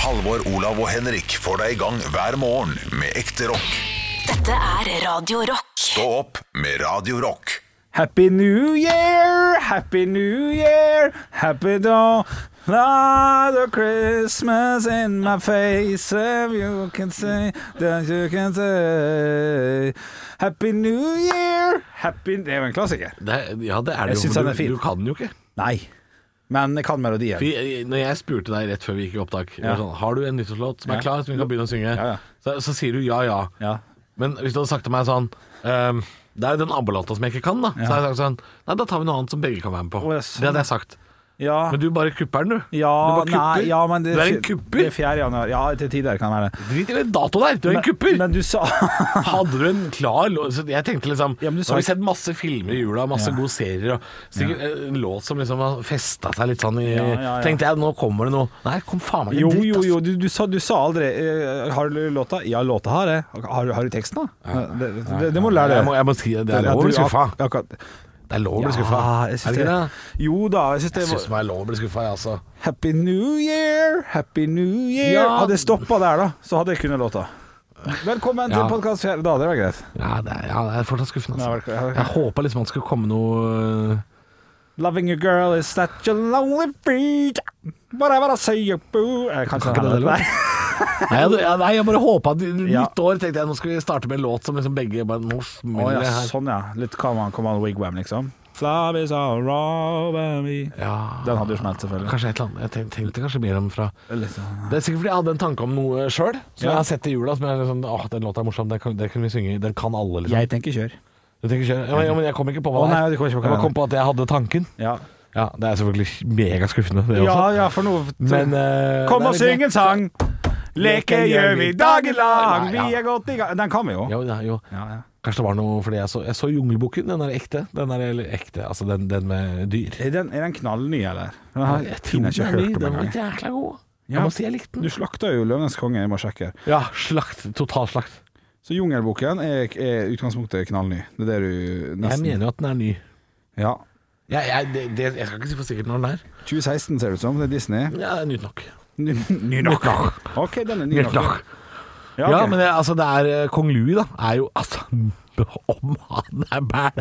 Halvor, Olav og Henrik får deg i gang hver morgen med ekte rock. Dette er Radio Rock. Stå opp med Radio Rock. Happy New Year, Happy New Year, Happy Dawn. Not a Christmas in my face, if you can say that you can say Happy New Year, Happy Det er jo en klassiker. Det er, ja, det Jeg er det jo, synes for den er fin. du, du kan den jo ikke. Nei, men jeg kan melodien. For jeg, når jeg spurte deg rett før vi gikk i opptak jeg Ja. var sånn, Har du en nyttårslåt som Ja. er klar, som vi kan begynne å synge, Ja, ja. Så, så sier du ja, ja. Ja. Men hvis du hadde sagt til meg sånn ehm, Det er jo den ABBA-låta som jeg ikke kan, da. Så hadde jeg sagt sånn Nei, da tar vi noe annet som begge kan være med på. Å, ja, sånn. Det hadde jeg sagt. ja. Men du bare kupper den, du. ja, du bare kupper. nei, ja, men det, du er en Det kupper. er 4. januar. Ja, til tider kan det være det. Drit i den dato der, du er en kupper. Men, men du sa Hadde du en klar låt så Jeg tenkte liksom Ja, men du Nå sa har vi ikke- sett masse filmer i jula, masse Ja. gode serier og sikkert en låt som liksom har festa seg litt sånn i Ja, ja, ja. Tenkte jeg, nå kommer det noe. Nei, kom faen meg Jo, en dritt, jo, ass. jo, du, du, sa, du sa aldri eh, Har du låta? Ja, låta har jeg. Har, du- har du teksten, da? Det, det, det må du lære Jeg må, deg. jeg må si det. Det er Ja, lov å du- bli skuffa. ak- akkurat. Det er lov å Ja, bli skuffa. jeg Er syns det det. ikke det? Jo da, jeg syns det Jeg var syns det er lov å bli skuffa, jeg altså. Happy New Year, Happy New Year. Ja. Hadde jeg stoppa der, da, så hadde jeg kunnet låta. Velkommen til Ja. podkast fjerde dag, det var greit. Ja, det er, ja, det er fortsatt skuffende. Det Altså. er vel- Jeg håpa liksom at det skulle komme noe eh, Loving a girl is such a lonely feat. Whatever I say you boo Jeg kan Kan ikke det Nei. heller? Nei, jeg, ja, nei, jeg bare håpa at i Ja. nytt år tenkte jeg nå skal vi starte med en låt som liksom begge bare Nå Å smeller ja, det her. sånn ja. Litt Command Command Wigwam, liksom. Love is all wrong with me. Ja. Den hadde jo smelt, selvfølgelig. Kanskje et eller annet. Jeg tenkte, tenkte kanskje mer om fra Litt sånn. Det er sikkert fordi jeg hadde en tanke om noe sjøl, som Ja. jeg har sett i jula. Som jeg liksom, Åh, den låta er morsom, den kan, den kan vi synge, den kan alle, liksom. Jeg tenker kjør. Du tenker ikke, ja, men, ja, men jeg kom ikke på hva Å, det nei, er. du kom ikke på hva jeg bare det er. kom på at jeg hadde tanken. Ja, Ja, det er selvfølgelig megaskuffende, det ja, også. ja for noe Men eh, Kom det er og litt syng gøy. en sang! Leke gjør vi dagen lang, Ja, ja. vi er godt i gang Den kan vi jo. Jo, ja, jo. Ja, ja. Kanskje det var noe fordi jeg så, jeg så Jungelboken. Den er ekte. Den er eller ekte, altså den, den med dyr. Er den, er den knallny, eller? Den har jeg tror Tina ikke den er- hørt om Den var engang. jækla god. Ja. Jeg må si jeg Du likte den. slakta jo 'Løvenes konge', jeg må sjekke. Ja, slakt. Totalslakt. Så 'Jungelboken' er, er utgangspunktet knallny. Det er det du Jeg nesten mener jo at den er ny. Ja. Jeg, jeg, det, det, jeg skal ikke si for sikkert når den er. 2016 ser det ut som. Det er Disney. Ja, det er nytt nok. Ny ny nok. OK, den er ny Nytt nok. nok. Ja, men det, altså, det er eh, Kong Louis, da. Er jo altså Om han er bæl!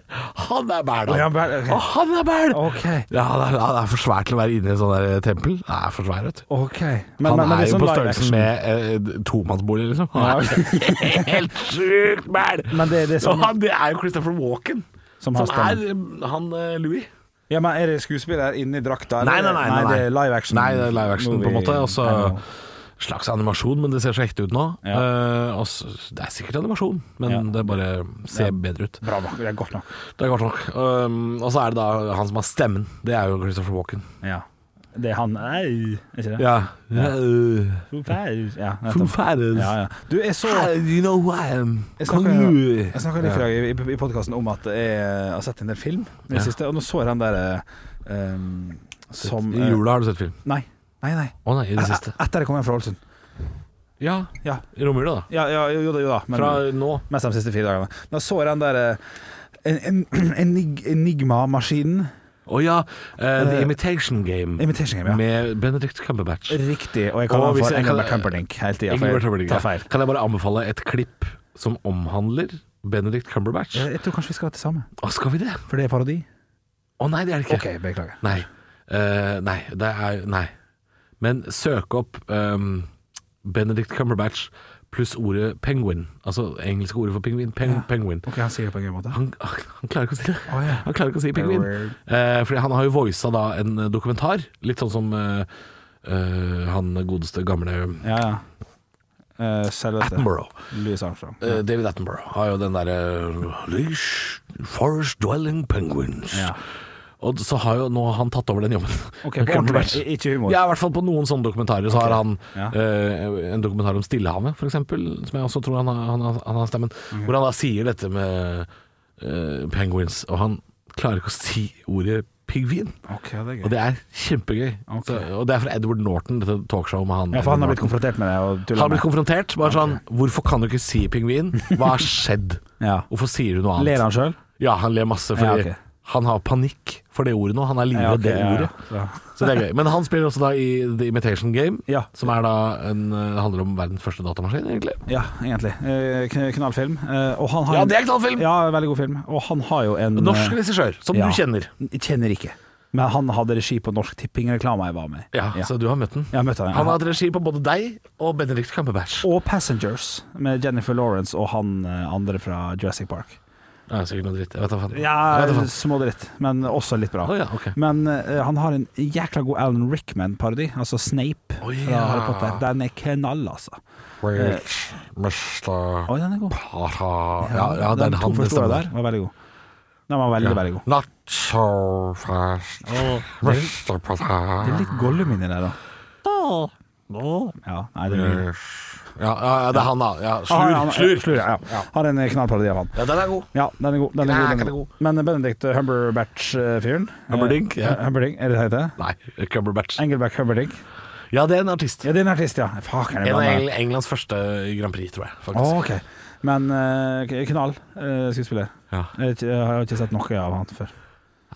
Han er bæl, Å, da! ja, bæl, ok. Å, han er bæl! Ok. Ja, det er, han er for svær til å være inne i et sånt der eh, tempel. Det er for svær, vet du. OK. han er, det jo sånn på live størrelsen action. med eh, tomannsbolig, liksom. Han er helt sjukt bæl! Men det- det er sånn- Og han, det er jo Christopher Walken, Som som, har er eh, han eh, Louis. Ja, men Er det skuespiller inni drakta? Nei, nei, nei, nei, det er live action. Nei, det er live action på en movie. måte. altså- Og så Ja. slags animasjon, men det ser så ekte ut nå. Ja. Eh, og så, det er sikkert animasjon, men Ja. det bare ser bedre ut. Bra nok, det er godt nok. Det er godt nok. Um, og så er det da han som har stemmen. Det er jo Christopher Walken. Ja. Det er han Nei, er ikke det? Ja. ja. øh, Foo Fighters. Ja, Foo nettopp. Fighters. ja, ja. Du, jeg så Ah, You know who I am. Jeg Kong snakka Louis. jeg snakka litt i dag i, i, i podkasten om at jeg eh, har sett en del film i det Ja. siste, og nå så jeg den der eh, ehm, som I eh, jula har du sett film? Nei. Nei, nei. Å nei, i det siste. E- Etter jeg kom hjem fra Ålesund. Ja, Ja. i romjula, da. Ja, ja, jo, jo da, jo da. Men Fra nå. mest de siste fire dagene. Da så jeg den der eh, en, en, enig, Enigma-maskinen. Å ja, eh, The Eh, Imitation Game. Imitation Game, ja. Med Benedict Cumberbatch. Riktig. Og jeg kaller Og den hvis for jeg Engelbert kaller- Humperdinck hele tida. Engelbert Humperdinck, Tar ja. feil. Kan jeg bare anbefale et klipp som omhandler Benedict Cumberbatch? Jeg jeg tror kanskje vi skal ha det samme, Å, skal vi det? for det er parodi. Å nei, det er det ikke. OK, beklager. Nei. Eh, nei, det er Nei. Men søk opp ehm, Benedict Cumberbatch pluss ordet penguin. Altså engelske ordet for pingvin. Peng, Penguin. Ok, Han sier det på en gøy måte. Han, han klarer ikke å si det. Å, ja. Han klarer ikke å si penguin. Eh, fordi han har jo voisa da en dokumentar, litt sånn som eh, eh, han godeste gamle Ja, ja. Eh, Selveste. Attenborough. Louis Armstrong. Eh, David Attenborough har jo den derre Leash Forest Dwelling Penguins. Ja. Og så har jo nå han tatt over den jobben. Ok, på ordentlig. I- Ikke humor. Ja, i hvert fall på noen sånne dokumentarer. Så har han Ja. eh, en dokumentar om Stillehavet, f.eks., som jeg også tror han har, han har, han har stemmen. Mhm. Hvor han da sier dette med eh, penguins, og han klarer ikke å si ordet pingvin. Ok, det er gøy. Og det er kjempegøy. Ok. Så, og det er fra Edward Norton, dette talkshowet med han. ja, for han har Edward blitt konfrontert med det og Norton. Han tulla har blitt konfrontert. Bare sånn Hvorfor kan du ikke si pingvin? Hva har skjedd? Ja. Hvorfor sier du noe annet? Ler han sjøl? Ja, han ler Ja, masse fordi ok. Han har panikk for det ordet nå. Han er Ja, livredd ok, det ja, ordet. ja. Så det er gøy. Men han spiller også da i The Imitation Game, Ja. som er da en, eh, handler om verdens første datamaskin, egentlig. Ja, egentlig. Eh, kn- knallfilm. Eh, og han har Ja, en- det er knallfilm! Ja, veldig god film. Og han har jo en Norsk regissør, som ja. du kjenner. eh, Kjenner ikke. Men han hadde regi på Norsk Tipping-reklama jeg var med i. Ja, Ja. Så du har møtt den. Jeg har møtt han, ja. Han har hatt regi på både deg og Benedict Cumberbatch. Og Passengers, med Jennifer Lawrence og han eh, andre fra Jurassic Park. Ja, sikkert noe dritt. Jeg vet da faen. Ja, Jeg vet da faen. smådritt, men også litt bra. Å ja, ok. Men eh, han har en jækla god Alan Rickman-parodi, altså Snape Å ja. fra Harry Potter. Den er knall, altså. Rich, Mr. Oi, den er god. Para Ja, ja det er den to han, det første ordet stemmer. der var veldig god. Den var veldig, veldig god. Not so fast, Mr. Det Potter. er litt Gollum inni der, da. Ja, nei, det er mye. Ja, ja, ja, det er han, da. Ja, Ah, slur. ja, han- slur. slur ja, ja. Har en knallparodi av han. Ja, den er god. Ja, den er god. Den er Ja, god, den den er er god. Men Benedict Humberbatch-fyren Humperdinck, ja. Humberdink, er det det heter? Nei, Cumberbatch. Engelbert Humberdink. Ja, det er en artist. Ja, det er en artist, ja. Fuck, er det En av bra Eng- navn? Englands første Grand Prix, tror jeg. Å, faktisk ok. Men eh, k- knall eh, skuespiller. Ja. Jeg, har ikke- jeg har ikke sett noe av han før.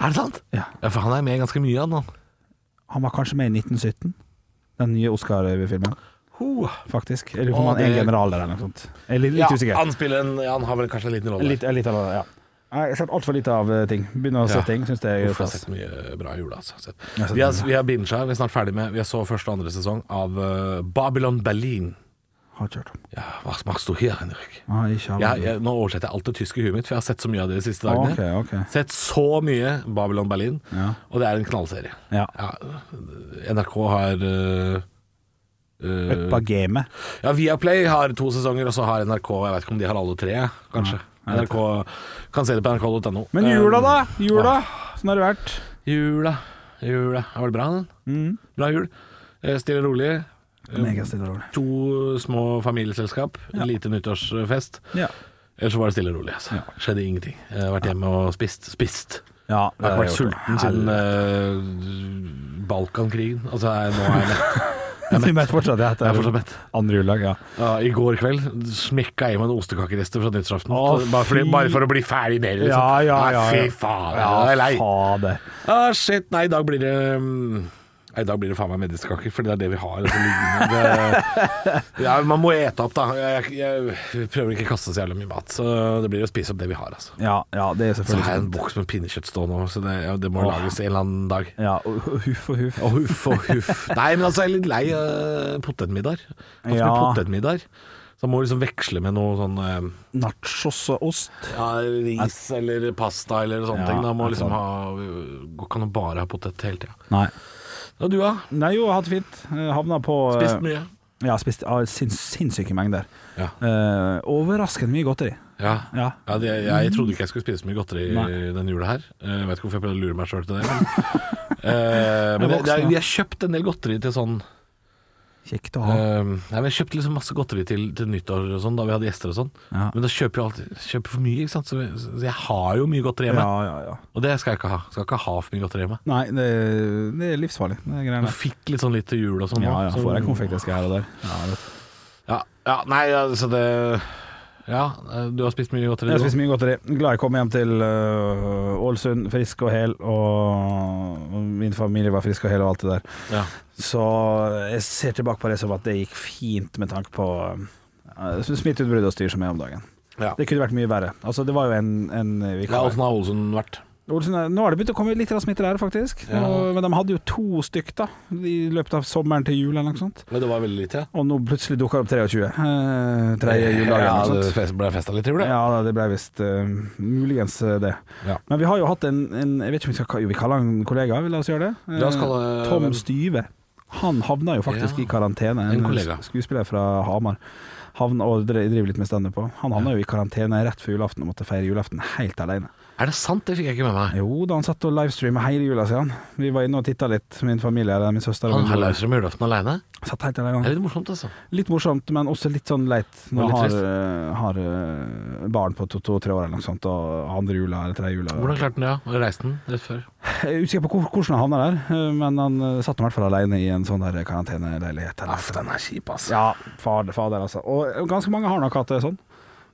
Er det sant? Ja. Ja, for han er med i ganske mye, han. han. Han var kanskje med i 1917, den nye Oscar-filmen, faktisk. Jeg lurer på om Å, han er en det- general der eller noe sånt. Jeg er litt, Ja, litt usikker. han spiller en ja, Han har vel kanskje en liten rolle. Litt, jeg er litt av, ja. Jeg har sett altfor lite av eh, ting. Begynner å se Ja. ting, syns det Uff, er jeg har stas. sett mye bra i jula. Altså. Så- har sett Vi har, vi har binget, vi er snart ferdig med Vi så første og andre sesong av eh, Babylon Berlin. Har ikke hørt om. Ja, hva machst du her, Henrik? Ah, ikke Jeg, jeg, nå oversetter jeg alt til tysk i huet mitt, for jeg har sett så mye av det de siste Ah, dagene. ok, ok. Sett så mye Babylon Berlin, Ja. og det er en knallserie. Ja. Ja, NRK har eh, eh, Uppa gamet. Ja, Viaplay har to sesonger, og så har NRK Jeg vet ikke om de har alle tre, kanskje. NRK kan se det på nrk.no. Men jula, da? Jula? Sånn har det vært. Eh, Um, jula, jula. Var det bra, den? Mm. Bra jul. Eh, Stille og rolig. Meget stille og rolig. To små familieselskap. En lite nyttårsfest. Ja. Ellers så var det stille og rolig. Altså. Skjedde ingenting. Jeg har vært hjemme og spist. Spist. ja Jeg har ikke vært sulten siden eh, Balkankrigen. Altså, jeg, nå er jeg mett. Jeg er mett fortsatt. Jeg Jeg heter er fortsatt mett. andre juledag, ja. Ja, I går kveld smekka jeg i meg noen ostekakerester fra nyttårsaften. Å, Så bare, fordi, fy. bare for å bli ferdig med det. liksom. Ja, ja, ja, Nei, ja. fy faen, jeg er lei. fader. Ah, shit, nei, i dag blir det mm, Nei, I dag blir det faen meg medisterkaker, for det er det vi har. Altså, liggende. det, ja, man må ete opp, da. Jeg, jeg, jeg prøver ikke å kaste så jævlig mye mat, så det blir å spise opp det vi har. altså. Ja, ja, det er Så har jeg selvfølgelig en boks med pinnekjøtt stående, også, så det, ja, det må Åh. lages en eller annen dag. Ja, og- og huff og huff. Å, huff og huff. Nei, men altså, jeg er litt lei uh, potetmiddag. Hatt ja. Ja. potetmiddag. Så jeg må liksom veksle med noe sånn eh, Nachos og ost. ja, ris eller pasta eller sånne Ja, ting. Da må jeg tror liksom ha Går ikke an å bare ha potet hele tida. Nei. Ja, du, da? Nei, jo, jeg har hatt det fint. Eh, Havna på eh, Spist mye? Ja, spist ah, sinns, sinnssyke mengder. Ja. Eh, overraskende mye godteri. Ja. Ja. Ja, det, jeg trodde ikke jeg skulle spise så mye godteri Nei. denne jula her. Eh, Jeg vet ikke hvorfor jeg prøvde å lure meg sjøl til det. Men, Eh, men Jeg er jeg, voksen, jeg, ja. jeg har kjøpt en del godteri til sånn Kjekt å eh, ha. Nei, men Jeg kjøpte liksom masse godteri til, til nyttår og sånn, da vi hadde gjester og sånn. Ja. Men da kjøper jeg alltid kjøper for mye, ikke sant. Så, så jeg har jo mye godteri hjemme. Ja, ja, ja. Og det skal jeg ikke ha. Skal ikke ha for mye godteri hjemme. Nei, det, det er livsfarlig, det er greiene. Jeg fikk litt sånn litt til jul og sånn. Ja, nå, ja, så- får jeg konfekteske her og der. Ja, vet du. Ja, ja nei, altså det Ja, du har spist mye godteri? Jeg har du spist også? mye godteri. Glad jeg kom hjem til øh, Ålesund, frisk og hel, og min familie var frisk og hel og alt det der. Ja. Så jeg ser tilbake på det som at det gikk fint med tanke på øh, smitteutbrudd og styr som er om dagen. Ja. Det kunne vært mye verre. Altså, det var jo en, en øh, Ja, vikar. Åssen har Olsen vært? Olsen, er- nå har det begynt å komme litt smitte der, faktisk. Ja. Og, men de hadde jo to stykk da i løpet av sommeren til jul eller noe sånt. Men det var veldig lite, ja. Og nå plutselig dukker det opp 23. Eh, tredje juledag eller noe Ja, sånt. det altså, fest- ble festa litt, tror du? det? Ja, da, det ble visst eh, muligens eh, det. Ja. Men vi har jo hatt en, en Jeg vet ikke om vi skal ka- jo, vi kaller han en kollega, vi la oss gjøre det. Eh, La oss kalle- Tom Styve. Han havna jo faktisk Ja, i karantene. en kollega. sk- skuespiller fra Hamar. Havn og dre- driver litt med standup på. Han havna jo i karantene rett før julaften og måtte feire julaften helt alene. Er det sant? Det fikk jeg ikke med meg. Jo da, han satt og livestreama hele jula siden. Vi var inne og titta litt, min familie eller min søster. og Han min har bror. Lauser med julaften aleine. Satt helt Det alene. er litt morsomt, altså. Litt morsomt, men også litt sånn leit når Og litt han har, trist. eh, har eh, barn på to-tre år eller noe sånt, og andre jula eller tredje jula. Hvordan klarte han det? Ja? Reiste han rett før? Jeg er usikker på hvor- hvordan han havna der, men han eh, satt nå i hvert fall alene i en sånn der karanteneleilighet. eller et eller annet. er kjip, ass. Ja, fader, fader, altså. Og ganske mange har nok hatt det sånn.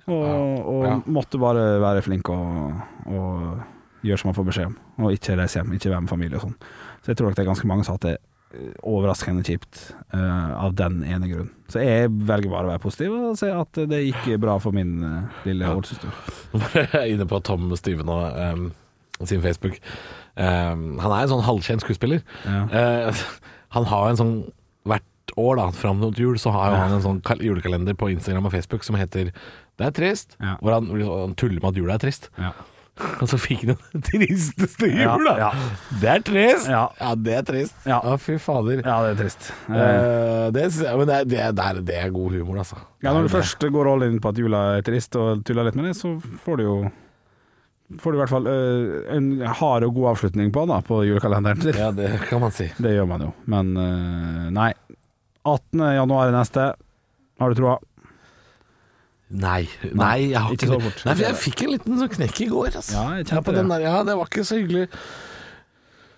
Og, og Ja. måtte bare være flink og, og gjør som man får beskjed om, og ikke reise hjem, ikke være med familie og sånn. Så jeg tror nok det er ganske mange som har hatt det eh, overraskende kjipt eh, av den ene grunnen. Så jeg velger bare å være positiv og se at det gikk bra for min eh, lille oldesøster. Jeg er inne på Tom Styve nå, ehm, sin Facebook. Ehm, han er en sånn halvkjent skuespiller. Ja. Eh, han har en sånn Hvert år da, fram mot jul så har jo han en sånn kal- julekalender på Instagram og Facebook som heter 'Det er trist', Ja. hvor han, han tuller med at jula er trist. Ja. Og så fikk han den tristeste Ja, jula! ja. Det er trist! Ja. det er trist. Ja. Å, fy fader. Ja, det er trist. Eh, Eh, det, synes jeg- men det, er- det, er- det, er, det er god humor, altså. Ja, når du først går all in på at jula er trist og tuller litt med det, så får du jo Får du i hvert fall eh, en hard og god avslutning på da, på julekalenderen. Ja, det kan man si. Det gjør man jo, men eh, nei. 18. januar er neste. Har du troa? Nei, nei, jeg har ikke ikke, så fort. Nei, for jeg fikk en liten sånn knekk i går. Altså. Ja, jeg kjente på det. den der, ja, det var ikke så hyggelig.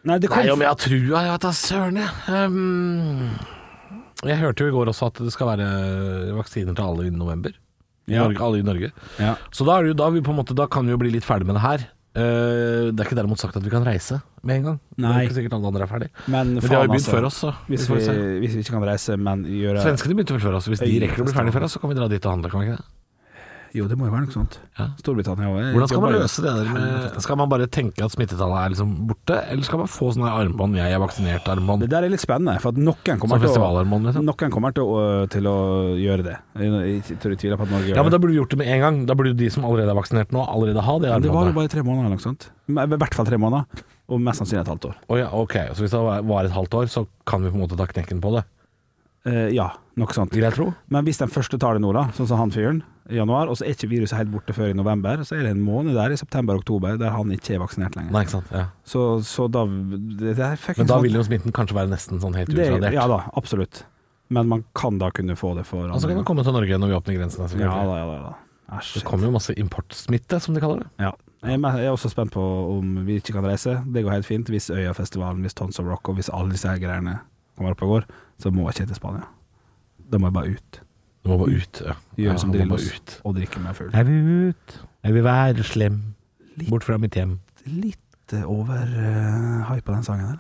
Nei, det Nei, om jeg har trua, jeg vet da søren, jeg. Um, jeg hørte jo i går også at det skal være vaksiner til alle innen november. I Ja. Norge, alle i Norge. Ja. Så da, er det jo, da, er vi på en måte, da kan vi jo bli litt ferdig med det her. Eh, det er ikke derimot sagt at vi kan reise med en gang. Det Nei. er ikke sikkert alle andre er ferdig. Men Men de har faen, jo begynt altså. før oss, så. Hvis får vi, se. hvis vi ikke kan reise, men gjøre Svenskene begynte vel før oss. Hvis de rekker å bli ferdig før oss, så kan vi dra dit og handle, kan vi ikke det? Jo, det må jo være noe sånt. Ja. Storbritannia òg. Hvordan skal man løse det der med Skal man bare tenke at smittetallet er liksom borte, eller skal man få sånne armbånd, jeg er vaksinert armbånd? Det der er litt spennende, for at noen kommer, Som til å, festivalarmbånd, liksom? noen kommer til, å, øh, til å gjøre det. Jeg, jeg tror jeg tviler på at Norge gjør Ja, men det. da burde du gjort det med en gang. Da burde jo de som allerede er vaksinert nå, allerede ha det Men det var jo armbåndet. bare tre måneder eller noe sånt. Men I hvert fall tre måneder, og mest sannsynlig et halvt år. Å ja, ok, så hvis det var et halvt år, så kan vi på en måte ta knekken på det, Eh, ja, noe sånt. vil jeg tro. Men hvis den første tar det nå, da, sånn som han fyren, i januar, og så er ikke viruset helt borte før i november, så er det en måned der i september-oktober der han ikke er vaksinert lenger. Nei, ikke sant. Ja. Så, så da Det, det er fuckings Men da sant. vil jo smitten kanskje være nesten sånn helt det, utradert. Ja da, absolutt. Men man kan da kunne få det for Og så Altså, kan den komme til Norge når vi åpner grensene. selvfølgelig. Ja da, ja da. ja da. Æsj. Det kommer jo masse importsmitte, som de kaller det. Ja. Jeg er me- jeg er også spent på om vi ikke kan reise. Det går helt fint hvis Øyafestivalen, hvis Tons of Rock og hvis alle disse her greiene kommer opp og går, så må jeg ikke til Spania. Da må jeg bare ut. Du må bare ut. Ja. Gjøre Ja, som du må bare Drillos ut. og drikke meg full. Jeg vil ut. Jeg vil være slem. Bort fra mitt hjem. Litt eh, over uh, hype på den sangen her.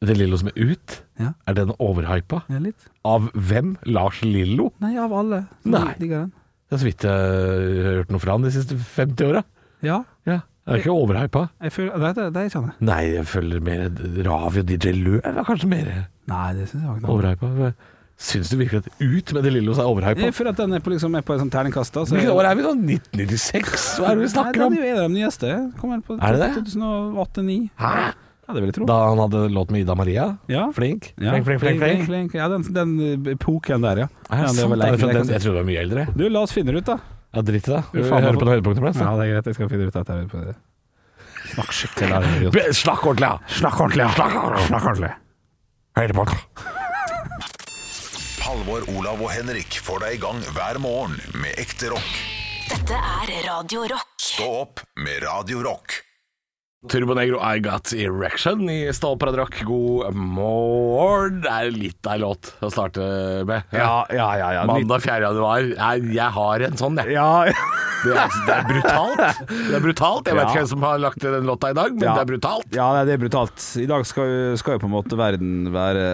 Det Lillo som er ut, Ja. er den overhypa? Ja, litt. Av hvem? Lars Lillo? Nei, av alle. som Nei. Digger den. Det er så vidt jeg har hørt noe fra han de siste 50 åra. Ja, Ja. Er ikke overhypa? jeg føler Det, sånn. det, det kjenner jeg. Nei, jeg følger mer Ravi og DJ Løv er kanskje mer Nei, det syns jeg var ikke. overhypa. Syns du virkelig at Ut med De Lillos er overhypa? Jeg føler at den er på, liksom, er på en sånn terningkast. da, så- Hvilket år er vi da? 1996? Hva er det vi snakker om? Nei, den er jo en av de nyeste. Kommer på Er det det? 2008-2009. Hæ? Ja, det vil jeg tro. Da han hadde låt med Ida Maria? Ja. Flink? Ja. Flink, flink, flink. flink. Ja, den, den eh, poken der, ja. Er ja det det sant? var Er det fra leken- den? Jeg trodde du var mye eldre. Du, la oss finne det ut, da. Ja, Drit i det. Jo, Vi faen, hører hva- på noen høydepunkter. Ja. det er greit. Jeg skal finne ut at jeg er på det. Snakk skikkelig der. idiot. Snakk ordentlig, ja! Snakk ordentlig, ja. Snakk ordentlig. Høydepunkt. Halvor, Olav og Henrik får deg i gang hver morgen med ekte rock. Dette er Radio Rock. Stå opp med Radio Rock. Turbonegro I Got Erection i Stålparadrock. God morgen. Det er litt av en låt å starte med. Ja, ja, ja. ja. Mandag 4. januar. Jeg, jeg har en sånn, jeg. Ja, ja. Det er, det er brutalt. Det er brutalt. Jeg vet Ja. ikke hvem som har lagt den låta i dag, men Ja. det er brutalt. Ja, nei, det er brutalt. I dag skal, jo- skal jo på en måte verden være,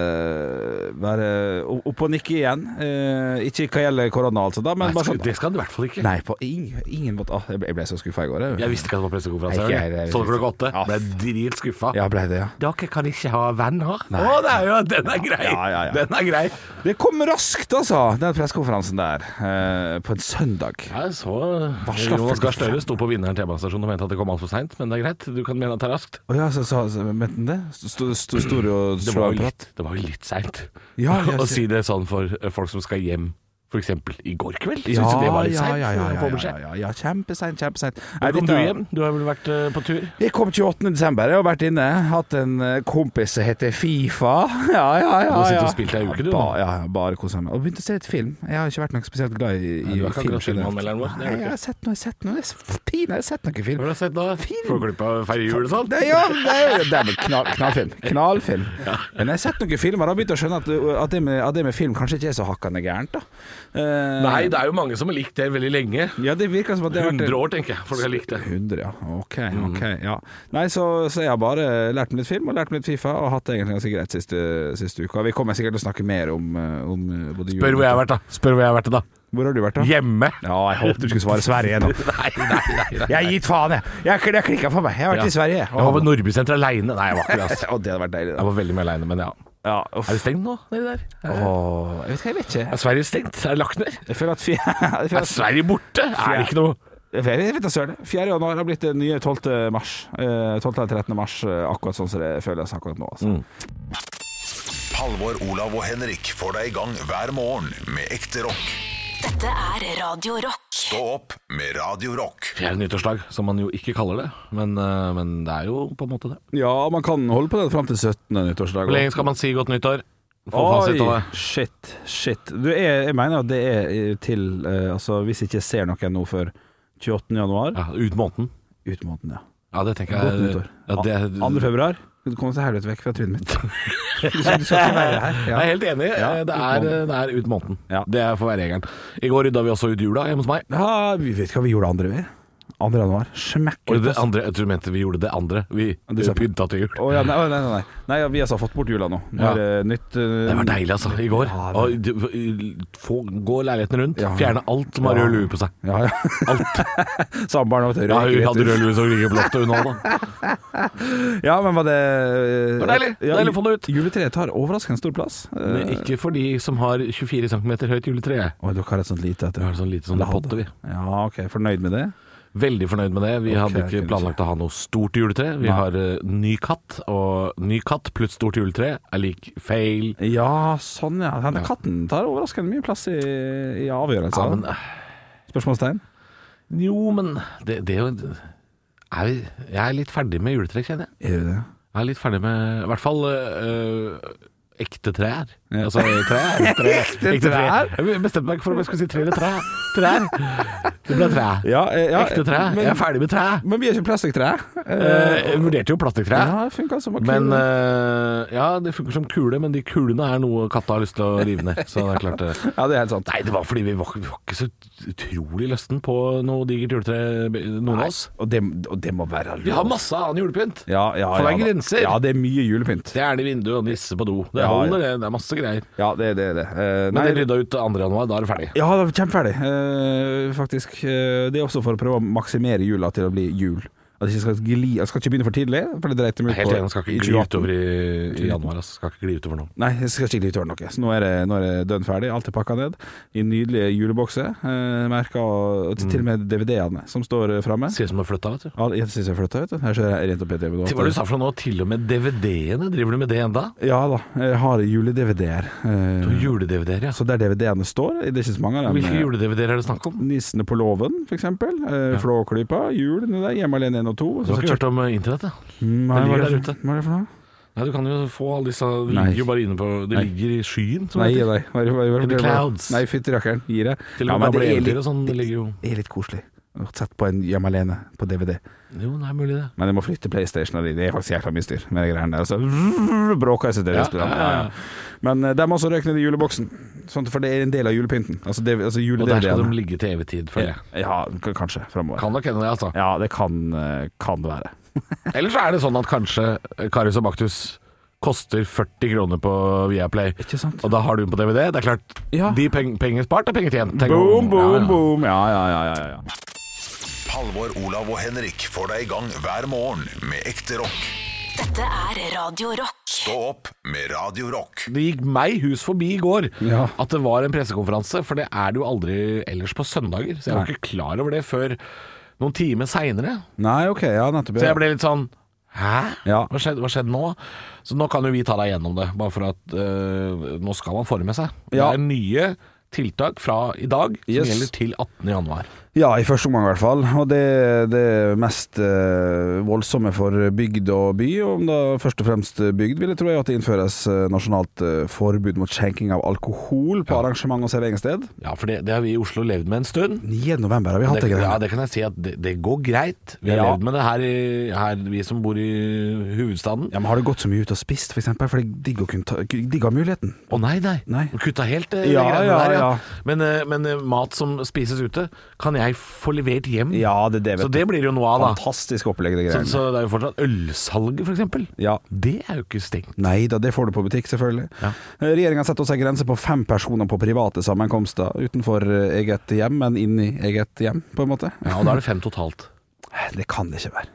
være opp- opp og nikke igjen. Eh, ikke hva gjelder korona, altså, da, men Nei, bare skal- sånn det skal den i hvert fall ikke. Nei, på ingen, ingen måte. Åh, jeg ble- jeg ble så skuffa i går. Jeg visste ikke at det var pressekonferanse. Nei, ikke jeg, hører det du. er- Så det klokka åtte. Ja. Ble dritskuffa. Ja, ble det, ja. Dere kan ikke ha venner? Å, det er jo, den er grei! Ja, ja, ja. Den er grei. Det kom raskt, altså, den pressekonferansen der, eh, på en søndag. Jeg så eh, slapp Jonas Gahr faktisk- Støre sto på vinneren T-banestasjon og mente at det kom altfor seint, men det er greit. Du kan mene at det er raskt. Å ja, så, så, så mente han det? Sto sto- sto det og Det slo var av jo prat? litt, det var jo litt seint Ja, jeg å ser- si det sånn for eh, folk som skal hjem f.eks. i går kveld. Syns Ja, du det var litt ja, seint? ja, ja, ja, å få ja, beskjed? ja, ja. Kjempeseint, kjempeseint. Nei, Kom du dette- hjem? Du har vel vært eh, på tur? Jeg kom 28. desember, jeg har vært inne Hatt en eh, kompis som heter Fifa Ja, ja, ja, ja. Du har sittet og spilt ei uke, Ja, du, nå. ba- Ja, ja, bare koset meg Og begynt å se litt film Jeg har ikke vært noe spesielt glad i, i du er ikke film akkurat generelt. filmanmelderen vår, det er du Nei, ikke. jeg har sett noe, jeg har sett noe Det er så pinlig, jeg har sett noen Hva film har du sett da? Får glipp av Færre jul og sånt? det, ja, det, er- det er vel knall, knallfilm Knallfilm Men jeg har sett noen filmer og har begynt å skjønne at, at, det med, at det med film kanskje ikke er så hakkende gærent da Eh, Nei, det er jo mange som har likt det veldig lenge. Ja, det virker som at det har vært 100 år, tenker jeg. Folk har likt det. Mhm. 100, ja. Ok, ok, ja. Nei, så, så jeg har bare lært meg litt film og lært meg litt Fifa, og hatt det egentlig ganske greit siste, siste uka. Vi kommer sikkert til å snakke mer om, eh, om eh, både jul Spør hvor jeg har vært, da. Spør hvor jeg har vært, da. Hvor har du vært, da? Hjemme. Ja, jeg håpet du skulle svare Sverige nå. Nei, nei, nei. nei. Jeg har gitt faen, jeg. Jeg, jeg klikka for meg. Jeg har vært i Sverige. Jeg var på Nordbysenteret aleine. Nei, jeg var ikke det. Altså. Å, det hadde vært deilig, da. Jeg var veldig mye aleine, men ja. Ja, uff. Er det stengt nå, nedi der? Åh, jeg vet ikke, jeg vet ikke. Er Sverige stengt? Er det lagt ned? Jeg føler at fjerde, jeg føler Er at, Sverige borte? Er det ikke noe jeg vet, jeg vet da søren. 4. januar har blitt det nye 12. mars. Eh, 12. eller 13. mars, eh, akkurat sånn som det føles akkurat nå. Altså. Mm. Halvor, Olav og Henrik får deg i gang hver morgen med ekte rock. Dette er Radio Rock. Stå opp med Radio Rock. Fjerde nyttårsdag, som man jo ikke kaller det. Men, eh, men det er jo på en måte det. Ja, man kan holde på den fram til 17. nyttårsdag. Hvor lenge skal man si godt nyttår? Få fasit av Oi, det. shit, shit. Du, jeg, jeg mener at det er eh, til eh, Altså, hvis jeg ikke ser noen nå før 28. januar, Ja, ut måneden. ut måneden, ja. Ja, det tenker Godt jeg. nyttår. Ja, det, 2. februar. Du kommer til helvete vekk fra trynet mitt. Du skal, du skal ikke være her. Ja. Jeg er helt enig. Eh, Ja, ut det, er, måneden. det er ut måneden. Ja. Det får være regelen. I går rydda vi også ut jula hjemme hos meg. Ja, vi vet ikke hva vi gjorde andre ved. 2. januar. Smekk Og ut. det oss. andre, jeg tror du mente vi gjorde det andre. Vi Det sa- pynta til jul. Å ja, nei, nei, nei, nei. nei ja, vi har altså fått bort jula nå. Nå er det nytt eh, Det var deilig, altså. I går. Ja, det- Og du- få, gå leiligheten rundt. Ja. Fjerne alt som har rød lue på seg. Ja, ja. Alt. Samboeren har Ja, hun vært hadde rød lue som ligger på loftet, hun òg, da. Ja, men var det eh, Det var deilig. Ja, Deilig å få det ut. Juletreet tar overraskende stor plass. Eh, Men ikke for de som har 24 cm høyt juletre. Oi, dere har et sånt lite Vi etter. har sånn lite sånn Eller hadde. potte, vi. Ja, ok. Fornøyd med det? Veldig fornøyd med det. Vi Ok, hadde ok, ikke ok. planlagt å ha noe stort juletre. Vi Nei. har eh, ny katt, og ny katt pluss stort juletre er lik feil. Ja, sånn ja. Den katten tar overraskende mye plass i, i avgjørelser. Ja, men, eh, Spørsmålstegn? jo, men det, det er jo er, vi- Jeg er litt ferdig med juletre, kjenner jeg. Er det det? Jeg er litt ferdig med I hvert fall øh, ekte trær. Ja. Altså trær. trær. Ekte trær? Jeg bestemte meg ikke for om jeg skulle si tre eller trær. Trær. Det ble trær. Ja, eh, ja, ekte trær. Men, jeg er ferdig med trær. men vi er ikke plastikktre. Eh, Eh, jeg vurderte jo plastikktre. ja, det funka som en Men kule. øh, Ja, det funker som kule, men de kulene er noe katta har lyst til å rive ned. Så det er klart det. Ja, det er helt sant. Nei, det var fordi vi var, vi var ikke så utrolig løsten på noe digert juletre, noen av oss. Og det, og det må være Vi har masse annen julepynt. ja, ja, For ja, det er da. grenser. Ja, det er mye julepynt. Stjerne i vinduet og nisse på do. Det Ja, ja. holder, det. Det er masse greier. Ja, det er det. det. Eh, Men nei, det rydda ut 2. januar, da er det ferdig. ja, det er kjempeferdig, eh, faktisk. Eh, det er også for å prøve å maksimere jula til å bli jul. At det ikke skal gli Jeg skal ikke begynne for tidlig, for det dreit dem ut Helt enig, den skal ikke gli 2018. utover i, i januar. Altså. Skal ikke gli utover nå. Nei, jeg skal skikkelig tørre noe. Så nå er det, nå er det dønn ferdig. Alt er pakka ned i nydelige julebokser. Eh, merka og og til, til og med DVD-ene som står eh, framme. Ser ut som du har flytta, vet du. Ja, Jeg syns jeg flytta, vet du. Her ser jeg rent opp i TV nå. Hva er det du sa for noe nå? Til og med DVD-ene? Driver du med det enda? Ja da, jeg har jule-DVD-er. Du har Eh, Jule-DVD-er, ja. så der DVD-ene står, det er ikke så mange av dem. Hvilke jule-DVD-er er det snakk om? Nissene på låven, for eksempel. Eh, Flåklypa. Jul nede der. Hjemme alene 1 og 2. Du har ikke hørt om eh, internett, ja? Mm, Hva det er det ligger der for- hva er det for noe? Nei, du kan jo få alle disse Det Nei. ligger jo bare inne på Det Nei. ligger i skyen, som Nei, det gi heter. deg. Hva- hva- hva- In the hva- clouds. Nei, fytti rakkeren. Gi deg. Til Ja, og men med gamle det er eventyr litt- og sånn. Det ligger jo Det er litt koselig. Å Sette på en hjemme alene på DVD. Jo, det er mulig, det. Men jeg må flytte Playstationen din. Det er faktisk jækla mye styr med de greiene der. Så vrrr, bråker jeg seg til Ja, resten. ja, ja. Men eh, de må også røyke ned i juleboksen, sånn, for det er en del av julepynten. Altså, det, altså jule Og der skal DVD-ene. de ligge til evig tid, føler ja, jeg. ja, k- kanskje framover. Kan nok hende det, altså. Ja, det kan, eh, kan det være. Ellers er det sånn at kanskje eh, Karius og Baktus koster 40 kroner på Viaplay. Ikke sant? Og da har du den på DVD. Det er klart, Ja. de peng penger spart er penger tjent. tenker Boom, man. boom, Ja, ja. boom. Ja, ja, ja. ja, ja. Halvor, Olav og Henrik får deg i gang hver morgen med ekte rock. Dette er Radio Rock. Stå opp med Radio Rock. Det gikk meg hus forbi i går Ja. at det var en pressekonferanse, for det er det jo aldri ellers på søndager. Så jeg var ikke klar over det før noen timer seinere. Nei, OK. Ja, nettopp. Så jeg ble litt sånn Hæ? Ja. Hva skjedde, hva skjedde nå? Så nå kan jo vi ta deg gjennom det, bare for at øh, nå skal man forme seg. Ja. Det er nye tiltak fra i dag som Yes. gjelder til 18. januar. Ja, i første omgang i hvert fall. Og det, det mest eh, voldsomme for bygd og by, og da først og fremst bygd, vil jeg tro er at det innføres eh, nasjonalt eh, forbud mot skjenking av alkohol på arrangement og serveringssted. Ja, for det, det har vi i Oslo levd med en stund. 9. november har vi hatt Det, det ja, greia. det kan jeg si at det, det går greit. Vi har Ja. levd med det her, i, her, vi som bor i hovedstaden. Ja, men har du gått så mye ut og spist, for eksempel? For det er digg å kunne ta Digg å ha muligheten. Å nei, nei. Nei. Kutta helt eh, Ja, de greiene ja, der, ja. Men, eh, men eh, mat som spises ute, kan jeg få levert hjem. det er så det blir det jo noe av, da. Fantastisk opplegg, det Så, greiene. så det er jo fortsatt ølsalget, f.eks. Ja. Det er jo ikke stengt. Nei da, det får du på butikk, selvfølgelig. Ja. Regjeringa setter også en grense på fem personer på private sammenkomster utenfor eh, eget hjem, men inni eget hjem, på en måte. Eh, Ja, og da er det fem totalt. Det kan det ikke være.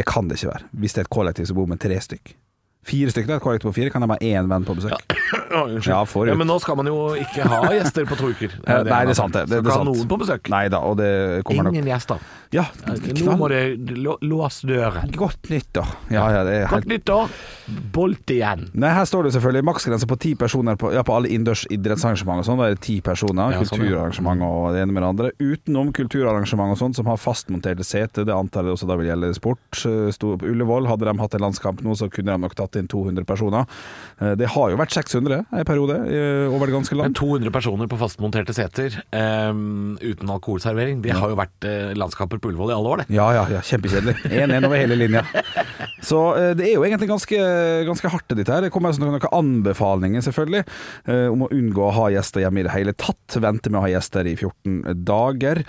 Det kan det ikke være. Hvis det er et kollektiv som bor med tre stykk. Fire stykk, da, et kollektiv på fire, kan de ha én venn på besøk. Å, Unnskyld. Ja, forut. men nå skal man jo ikke ha gjester på to uker. Eh, Nei, det er sant, det. det, det er skal sant. ha noen på besøk. Nei da, og det kommer nok Ingen gjester. Ja, Nå må knall. du lå- låse døren. Godt nyttår. Ja, ja, det er helt Godt nyttår. Bolt igjen. Nei, her står det selvfølgelig maksgrense på ti personer på, ja, på alle innendørs idrettsarrangement og sånn. Da er det ti personer. Ja, sånn, ja. kulturarrangement og det ene med det andre. Utenom kulturarrangement og sånn, som har fastmonterte seter. Det antar jeg også da vil gjelde sport. Eh, Sto på Ullevål, hadde de hatt en landskamp nå, så kunne de nok tatt inn 200 personer. Eh, Det har jo vært 600 en periode eh, over det ganske Men land. 200 personer på fastmonterte seter ehm, uten alkoholservering, det har jo vært eh, landskamper på Ullevål i alle år, det. Ja, ja, ja, kjempekjedelig. 1-1 over hele linja. Så eh, det er jo egentlig ganske, ganske hardt det ditt her. Det kommer altså noen, noen anbefalinger, selvfølgelig, eh, om å unngå å ha gjester hjemme i det hele tatt. Vente med å ha gjester i 14 dager.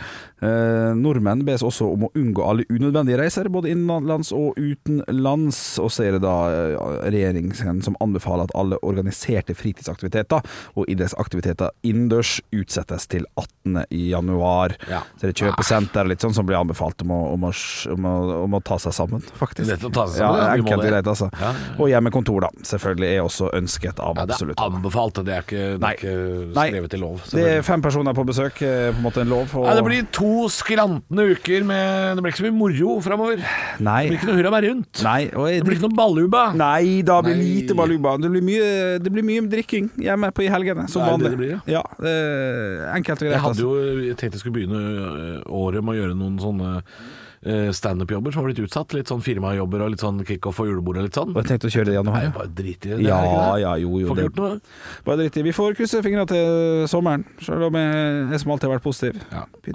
Eh, nordmenn bes også om å unngå alle unødvendige reiser, både innenlands og utenlands. Og så er det da eh, regjeringen som anbefaler at alle organiserte fritidsaktiviteter og idrettsaktiviteter innendørs utsettes til 18. januar. Ja. Så det er kjøpesenter og litt sånn som blir anbefalt om å, om å, om å, om å ta seg sammen, faktisk. Dette å ta seg sammen, ja, ja, vi må enkelt det. i det, altså. Ja, Og hjemmekontor, da. Selvfølgelig er også ønsket av Ja, det er absolutt alle. anbefalt, det er ikke, det Nei. er ikke Nei. skrevet i lov. Det selvfølgelig. er fem personer på besøk, eh, på en måte en lov. Og... Nei, det blir to skrantende uker med Det blir ikke så mye moro framover. Det blir Nei. ikke noe hurra meg rundt. Nei, og jeg... Det blir ikke noe balluba. Nei da, det blir Nei. lite baluba. Det blir mye, det blir mye drikking hjemme på i helgene, som Det er det vanlig. det blir, ja. eh, enkelt og greit. Jeg hadde altså. jo jeg tenkte jeg skulle begynne øh, året med å gjøre noen sånne øh, standup-jobber som har blitt utsatt. Litt sånn firmajobber og litt sånn kickoff og julebord og litt sånn. Og jeg tenkte å kjøre det i Nei, januar. ja. bare drit i det. det. Ja, er ikke det. ja, jo, jo. Får Det, ikke gjort noe. bare dritt i. Vi får krysse fingrene til sommeren, selv om jeg, jeg som alltid har vært positiv.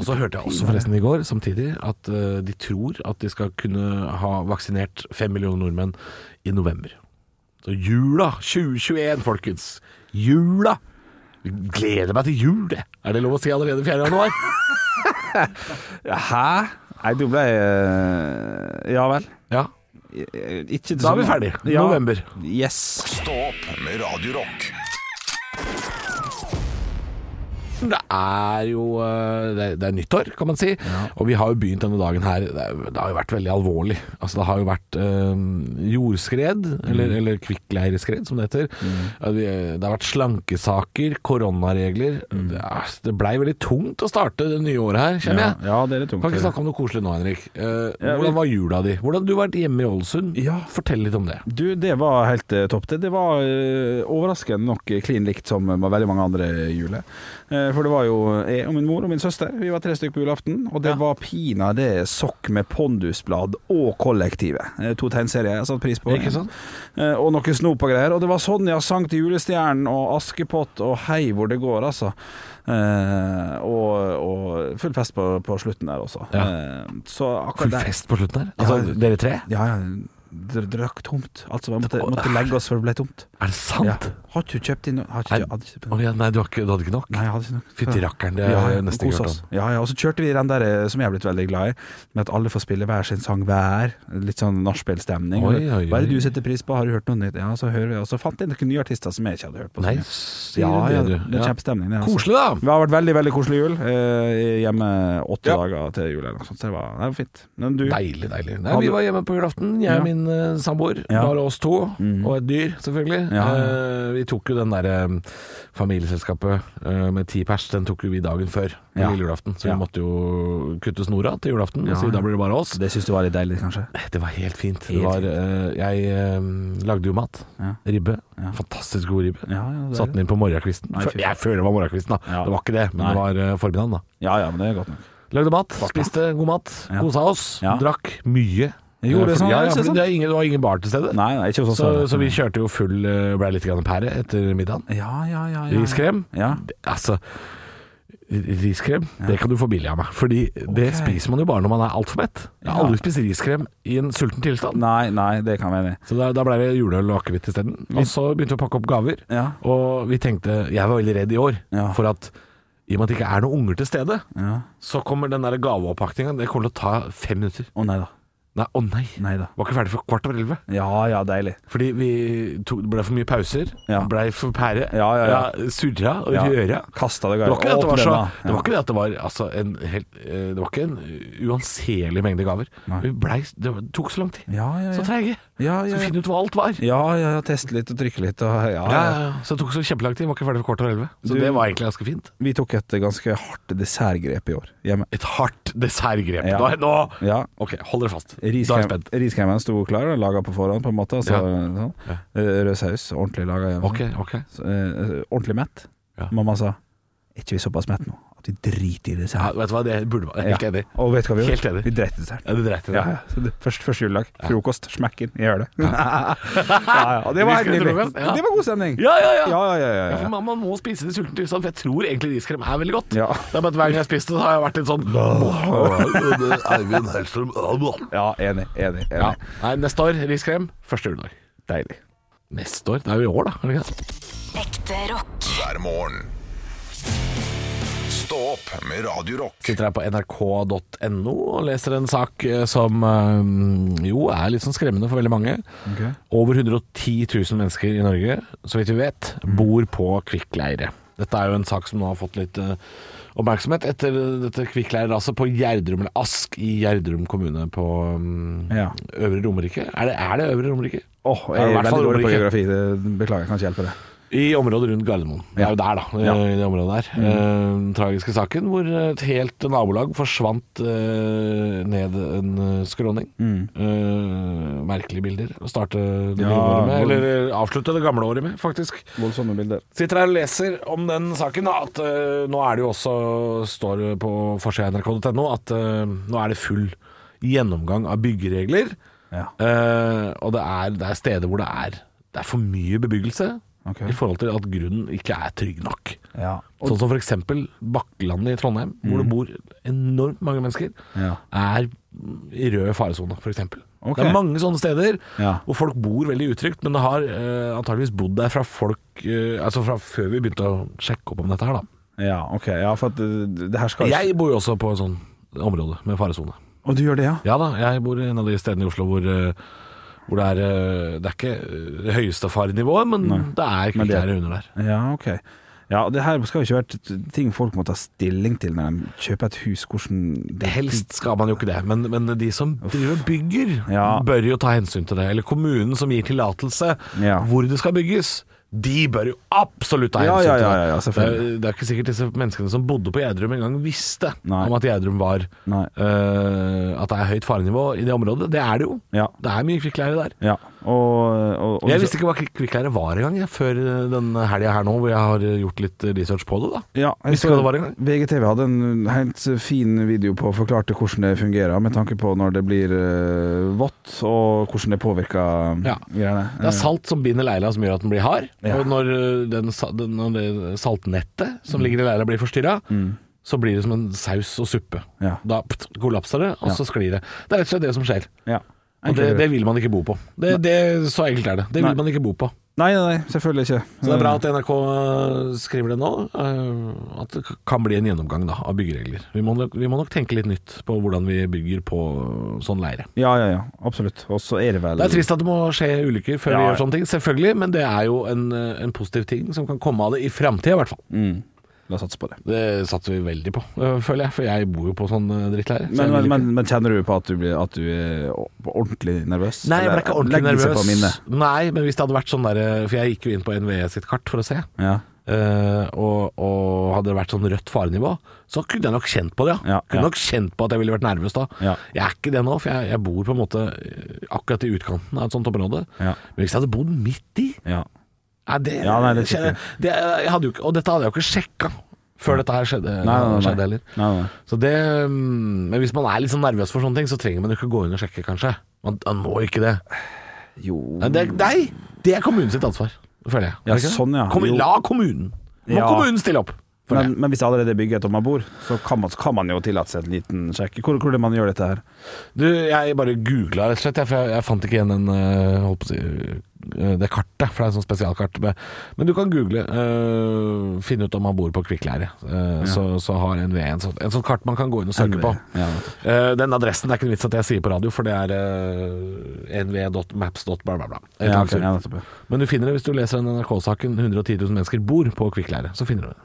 Og så hørte jeg også forresten i går, samtidig, at øh, de tror at de skal kunne ha vaksinert fem millioner nordmenn i november. Så jula 2021, folkens. Jula! Gleder meg til jul, det. Er det lov å si allerede 4. januar? Hæ? Nei, du ble eh, Ja vel. Ja. I- i- Ikke til Da er vi sommeren. ferdig. November. Yes. Stå opp med Radio Rock. Det er jo eh, det er, det er nyttår, kan man si. Og vi har jo begynt denne dagen her Det, er, det har jo vært veldig alvorlig. Altså Det har jo vært eh, jordskred, Mm. eller, eller kvikkleireskred som det heter. At vi, det har vært slankesaker, koronaregler. Mm. Det, er- det blei veldig tungt å starte det nye året her, kjenner Ja, jeg. ja, det er litt tungt. Kan ikke snakke om noe koselig nå, Henrik. Eh, Ja, vi- hvordan var jula di? Hvordan Du har vært hjemme i Ålesund. Ja. Fortell litt om det. Du, det var helt eh, topp. Det, det var eh, overraskende nok eh, klin likt som eh, med veldig mange andre juler. Eh, for det var jo jeg og min mor og min søster, vi var tre stykker på julaften. Og det var pinadø sokk med pondusblad og Kollektivet. Eh, to tegneserier jeg satte pris på. Ikke sant? Eh, og noe snop og greier. Og det var Sonja sang til Julestjernen og Askepott og Hei hvor det går, altså. Eh, og, og full fest på, på slutten der også. Ja. Eh, så akkurat Full der fest på slutten her. Altså, Ja. Dere tre? Ja, ja. dr- Drakk tomt. Altså, jeg måtte, måtte legge oss før det ble tomt. Er det sant? Ja. Har ikke du kjøpt inn noe? Har ikke, Nei. hadde ikke, Å ja, nei, du, har ikke, du hadde ikke nok? nei, jeg hadde ikke noe. Fytti rakkeren, det har jeg nesten ikke kos hørt oss. om. Ja, ja, og så kjørte vi den der eh, som jeg er blitt veldig glad i, med at alle får spille hver sin sang hver. Litt sånn nachspiel-stemning. Oi, oi, Hva er det oi. du setter pris på, har du hørt noe nytt? Ja, så hører vi, og så fant jeg noen nye artister som jeg ikke hadde hørt på. altså. Nei, Ja, sier du ja, det, det du. er Ja. kjempestemning. det, altså. Koselig, da! Det har vært veldig veldig koselig jul. eh, Hjemme åtte Ja. dager til jul eller noe sånt. Så det var, det var fint. Men du, Deilig, deilig. Nei, Hadde- vi var hjemme på julaften, jeg Ja. og min eh, samboer. Ja. Mhm. Bare oss to, og et dyr, selvfølgelig. Ja, ja. Eh, vi tok jo den derre familieselskapet eh, med ti pers, den tok jo vi dagen før, på Ja. lille julaften. Så Ja. vi måtte jo kutte snora til julaften, Ja, og si ja. da blir det bare oss. det syns du var litt deilig, kanskje? Det var helt fint. Helt det var, eh, jeg eh, lagde jo mat. Ja. Ribbe. Ja. Fantastisk god ribbe. Ja, ja, det er Satte den inn på morgenkvisten. Nei, fy faen. jeg føler det var morgenkvisten, da. Ja. Det var ikke det, men Nei. det var eh, formiddagen, da. Ja ja, men det er godt nok. Lagde mat, spiste god mat, Ja. kosa oss, Ja. drakk mye. Jeg gjorde Eh, det for- sånn, ja, jeg ja, synes for det, er ingen, det var ingen bar til stede. Nei, nei, ikke hos oss. så, var det. så vi kjørte jo full, eh, ble litt grann pære etter middagen. Ja, ja, ja. ja. Riskrem? Ja. Det- Altså Riskrem, det kan du få billig av meg. Fordi det spiser man jo bare når man er altfor mett. Jeg har Ja. aldri spist riskrem i en sulten tilstand. Nei, nei, det kan være enig. i. Så da, da ble det juleøl og akevitt isteden. Og så begynte vi å pakke opp gaver. Ja. Og vi tenkte Jeg var veldig redd i år Ja. for at i og med at det ikke er noen unger til stede, Ja. så kommer den der gaveoppakninga. Det kommer til å ta fem minutter. Å nei da. Nei, å nei. Nei da. Var ikke ferdig for kvart over elleve. Ja ja, deilig. Fordi vi tok, det ble for mye pauser. Ja. Blei for pære. Ja, ja, ja. surra og Ja. røra. Kasta det Det var ikke det at det var, så, Åpne det var, den, ikke det at det var altså, en helt, eh, Det var ikke en uanselig mengde gaver. Nei. Vi blei, det var- tok så lang tid. Ja ja Så ja. treige. Ja ja, Så ja. finne ut hva alt var. Ja, ja, ja, ja. Teste litt og trykke litt og ja, ja. ja, ja. Så det tok så kjempelang tid. Var ikke ferdig for kvart over elleve. Så Du- det var egentlig ganske fint. Vi tok et ganske hardt dessertgrep i år hjemme. Et hardt dessertgrep. Ja. Nå, nå Ja. Ok, hold dere fast. Da er jeg Riskremen, spent. riskremen sto klar, laga på forhånd, på en måte. Altså, Ja. sånn. Ja. Eh, Rød saus, ordentlig laga hjemme. Ok, ok. Så, eh, ordentlig mett. Ja. Mamma sa Er ikke vi såpass mett nå at vi driter i Ja, dessert? vet du hva, det burde være. Jeg er Helt Ja. enig. Og vet du hva vi Helt gjorde? enig. Vi dreit i dessert. Ja, du dreit i det. Ja, ja. Så det, først, første juledag. Frokost. Smekk inn. Gjør det. Ja. ja, og det var helt Riskrem til nydelig. frokost, ja. Det var god stemning. Ja, ja, ja. Ja, ja, ja, ja, Ja, for ja. man, man må spise det i sulten tilstand, for jeg tror egentlig riskrem er veldig godt. Ja. Det er bare at hver gang jeg har spist det, så har jeg vært litt sånn Eivind Hellstrøm ja enig. Enig. enig. ja. Nei, neste år riskrem, første juledag. Deilig. Neste år? Det er jo i år, da. Er det ikke det? Ekte rock. hver morgen. Stå opp med Radio Rock. Sitter her på nrk.no og leser en sak eh, som eh, jo er litt sånn skremmende for veldig mange. Ok. Over 110 000 mennesker i Norge, så vidt vi vet, bor på kvikkleire. Dette er jo en sak som nå har fått litt eh, oppmerksomhet etter dette kvikkleireraset på Gjerdrum, eller Ask i Gjerdrum kommune på mm, Ja. Øvre Romerike. Er det, er det Øvre Romerike? Åh, Er det jeg i er hvert veldig fall dårlig på Romerike? geografi. Det- Beklager, jeg kan ikke hjelpe det. I området rundt Gardermoen. Det er jo der, da. Ja. Mm. I det området der. Eh, Den tragiske saken hvor et helt nabolag forsvant eh, ned en eh, skråning. Eh, merkelige bilder å starte det Mm. nye Ja, året med. hvor- Eller eh, avslutte det gamle året med, faktisk. Voldsomme bilder. Sitter her og leser om den saken, da, at eh, nå er det jo også, står det på forsida av nrk.no, at eh, nå er det full gjennomgang av byggeregler. Ja. Eh, og det er, det er steder hvor det er, det er for mye bebyggelse Ok. i forhold til at grunnen ikke er trygg nok. Ja. Sånn som f.eks. Bakkelandet i Trondheim, hvor det bor enormt mange mennesker, Mm. Ja. er i rød faresone, f.eks. Ok. Det er mange sånne steder Ja. hvor folk bor veldig utrygt, men det har eh, antageligvis bodd der fra folk eh, Altså fra før vi begynte å sjekke opp om dette her, da. ja, ok. Ja, for at det, det her skal Jeg bor jo også på et sånn område med faresone. Og du gjør det, ja? Ja da, jeg bor i en av de stedene i Oslo hvor, eh, hvor det, er, eh, det er ikke eh, det høyeste farenivået, men det er Men det- kvikkleire under der. Ja, ok. Ja, og det her skal jo ikke være t- ting folk må ta stilling til når de kjøper et hus, hvordan det Helst skal man jo ikke det, men, men de som driver og bygger, Ja. bør jo ta hensyn til det. Eller kommunen som gir tillatelse Ja. hvor det skal bygges. De bør jo absolutt ta Ja, hensyn ja, ja, ja, til ja, det. Det er, selvfølgelig. det er ikke sikkert disse menneskene som bodde på Gjerdrum engang visste Nei. om at Gjerdrum var Nei. eh, At det er høyt farenivå i det området. Det er det jo. Ja. Det er mye kvikkleire der. Ja, og, og, og Jeg visste ikke hva kvik- kvikkleire var engang jeg, før denne helga her nå, hvor jeg har eh, gjort litt research på det. da ja, jeg Visste så- du hva det var engang? VGTV hadde en helt eh, fin video på å forklarte hvordan det fungerer, med tanke på når det blir eh, vått, og hvordan det påvirker eh, Ja. greiene. Det er salt som binder leila som gjør at den blir hard. Mm. Ja. Og når, ø, den, sa- den, når det saltnettet Mm. som ligger i leila blir forstyrra, så blir det som en saus og suppe. Ja. Da pst, kollapser det, og så sklir det. Det er rett og slett det som skjer. Ja. Og det, det vil man ikke bo på. Det, det, så enkelt er det. Det Nei. vil man ikke bo på. Nei, nei, nei, selvfølgelig ikke. Eh, Så det er bra at NRK skriver det nå, eh, at det kan bli en gjennomgang da, av byggeregler. Vi må, nok, vi må nok tenke litt nytt på hvordan vi bygger på sånn leire. Ja, ja, ja, absolutt. Og så er det vel Det er trist at det må skje ulykker før Ja, vi ja. gjør sånne ting, selvfølgelig, men det er jo en, eh, en positiv ting som kan komme av det i framtida, i hvert fall. Mm. La oss satse på det. Det satser vi veldig på, eh, føler jeg, for jeg bor jo på sånn eh, drittleire. så Men, jeg vil men, ikke- men, men kjenner du på at du, blir, at du er ordentlig nervøs? Nei, jeg ble Eller ikke ordentlig legger seg på nervøs. minnet? Nei, men hvis det hadde vært sånn derre For jeg gikk jo inn på NVE sitt kart for å se, Ja. eh, og, og hadde det vært sånn rødt farenivå, så kunne jeg nok kjent på det, ja. Ja, kunne ja. nok kjent på at jeg ville vært nervøs da. Ja. Jeg er ikke det nå, for jeg, jeg bor på en måte eh, akkurat i utkanten av et sånt område. Ja. Men hvis jeg hadde bodd midt i Ja. Nei, det, Ja, nei, det kjenner jeg- det, jeg hadde jo ikke, Og dette hadde jeg jo ikke sjekka før dette her skjedde, skjedde heller. Nei, nei. Så det mm, Men hvis man er litt sånn nervøs for sånne ting, så trenger man jo ikke gå inn og sjekke, kanskje. Man, man må ikke det. Jo Nei, det, er- nei, det er kommunen sitt ansvar, føler jeg. Er Mm. Ja, det ikke det? sånn, ja. Kom, Jo. la kommunen Må Ja. kommunen stille opp. føler men, men hvis det allerede er bygget om man bor, så kan man, så kan man jo tillate seg en liten sjekk. Hvor, hvor er det man gjør dette her? Du, jeg bare googla rett og slett, jeg, for jeg, jeg fant ikke igjen den eh, holdt på å si, eh, det kartet, for det er et sånt spesialkart. Men, men du kan google. eh, finne ut om han bor på Kvikkleire. Eh, så, så har NVE en sånn, en sånn kart man kan gå inn og søke NVE, på. ja. Eh, den adressen det er ikke noe vits at jeg sier på radio, for det er eh, nve.maps.bla, bla, bla. Et Ja, langt ok, sur. ja, nettopp, ja. Men du finner det hvis du leser den NRK-saken 110 000 mennesker bor på Kvikkleire. Så finner du det.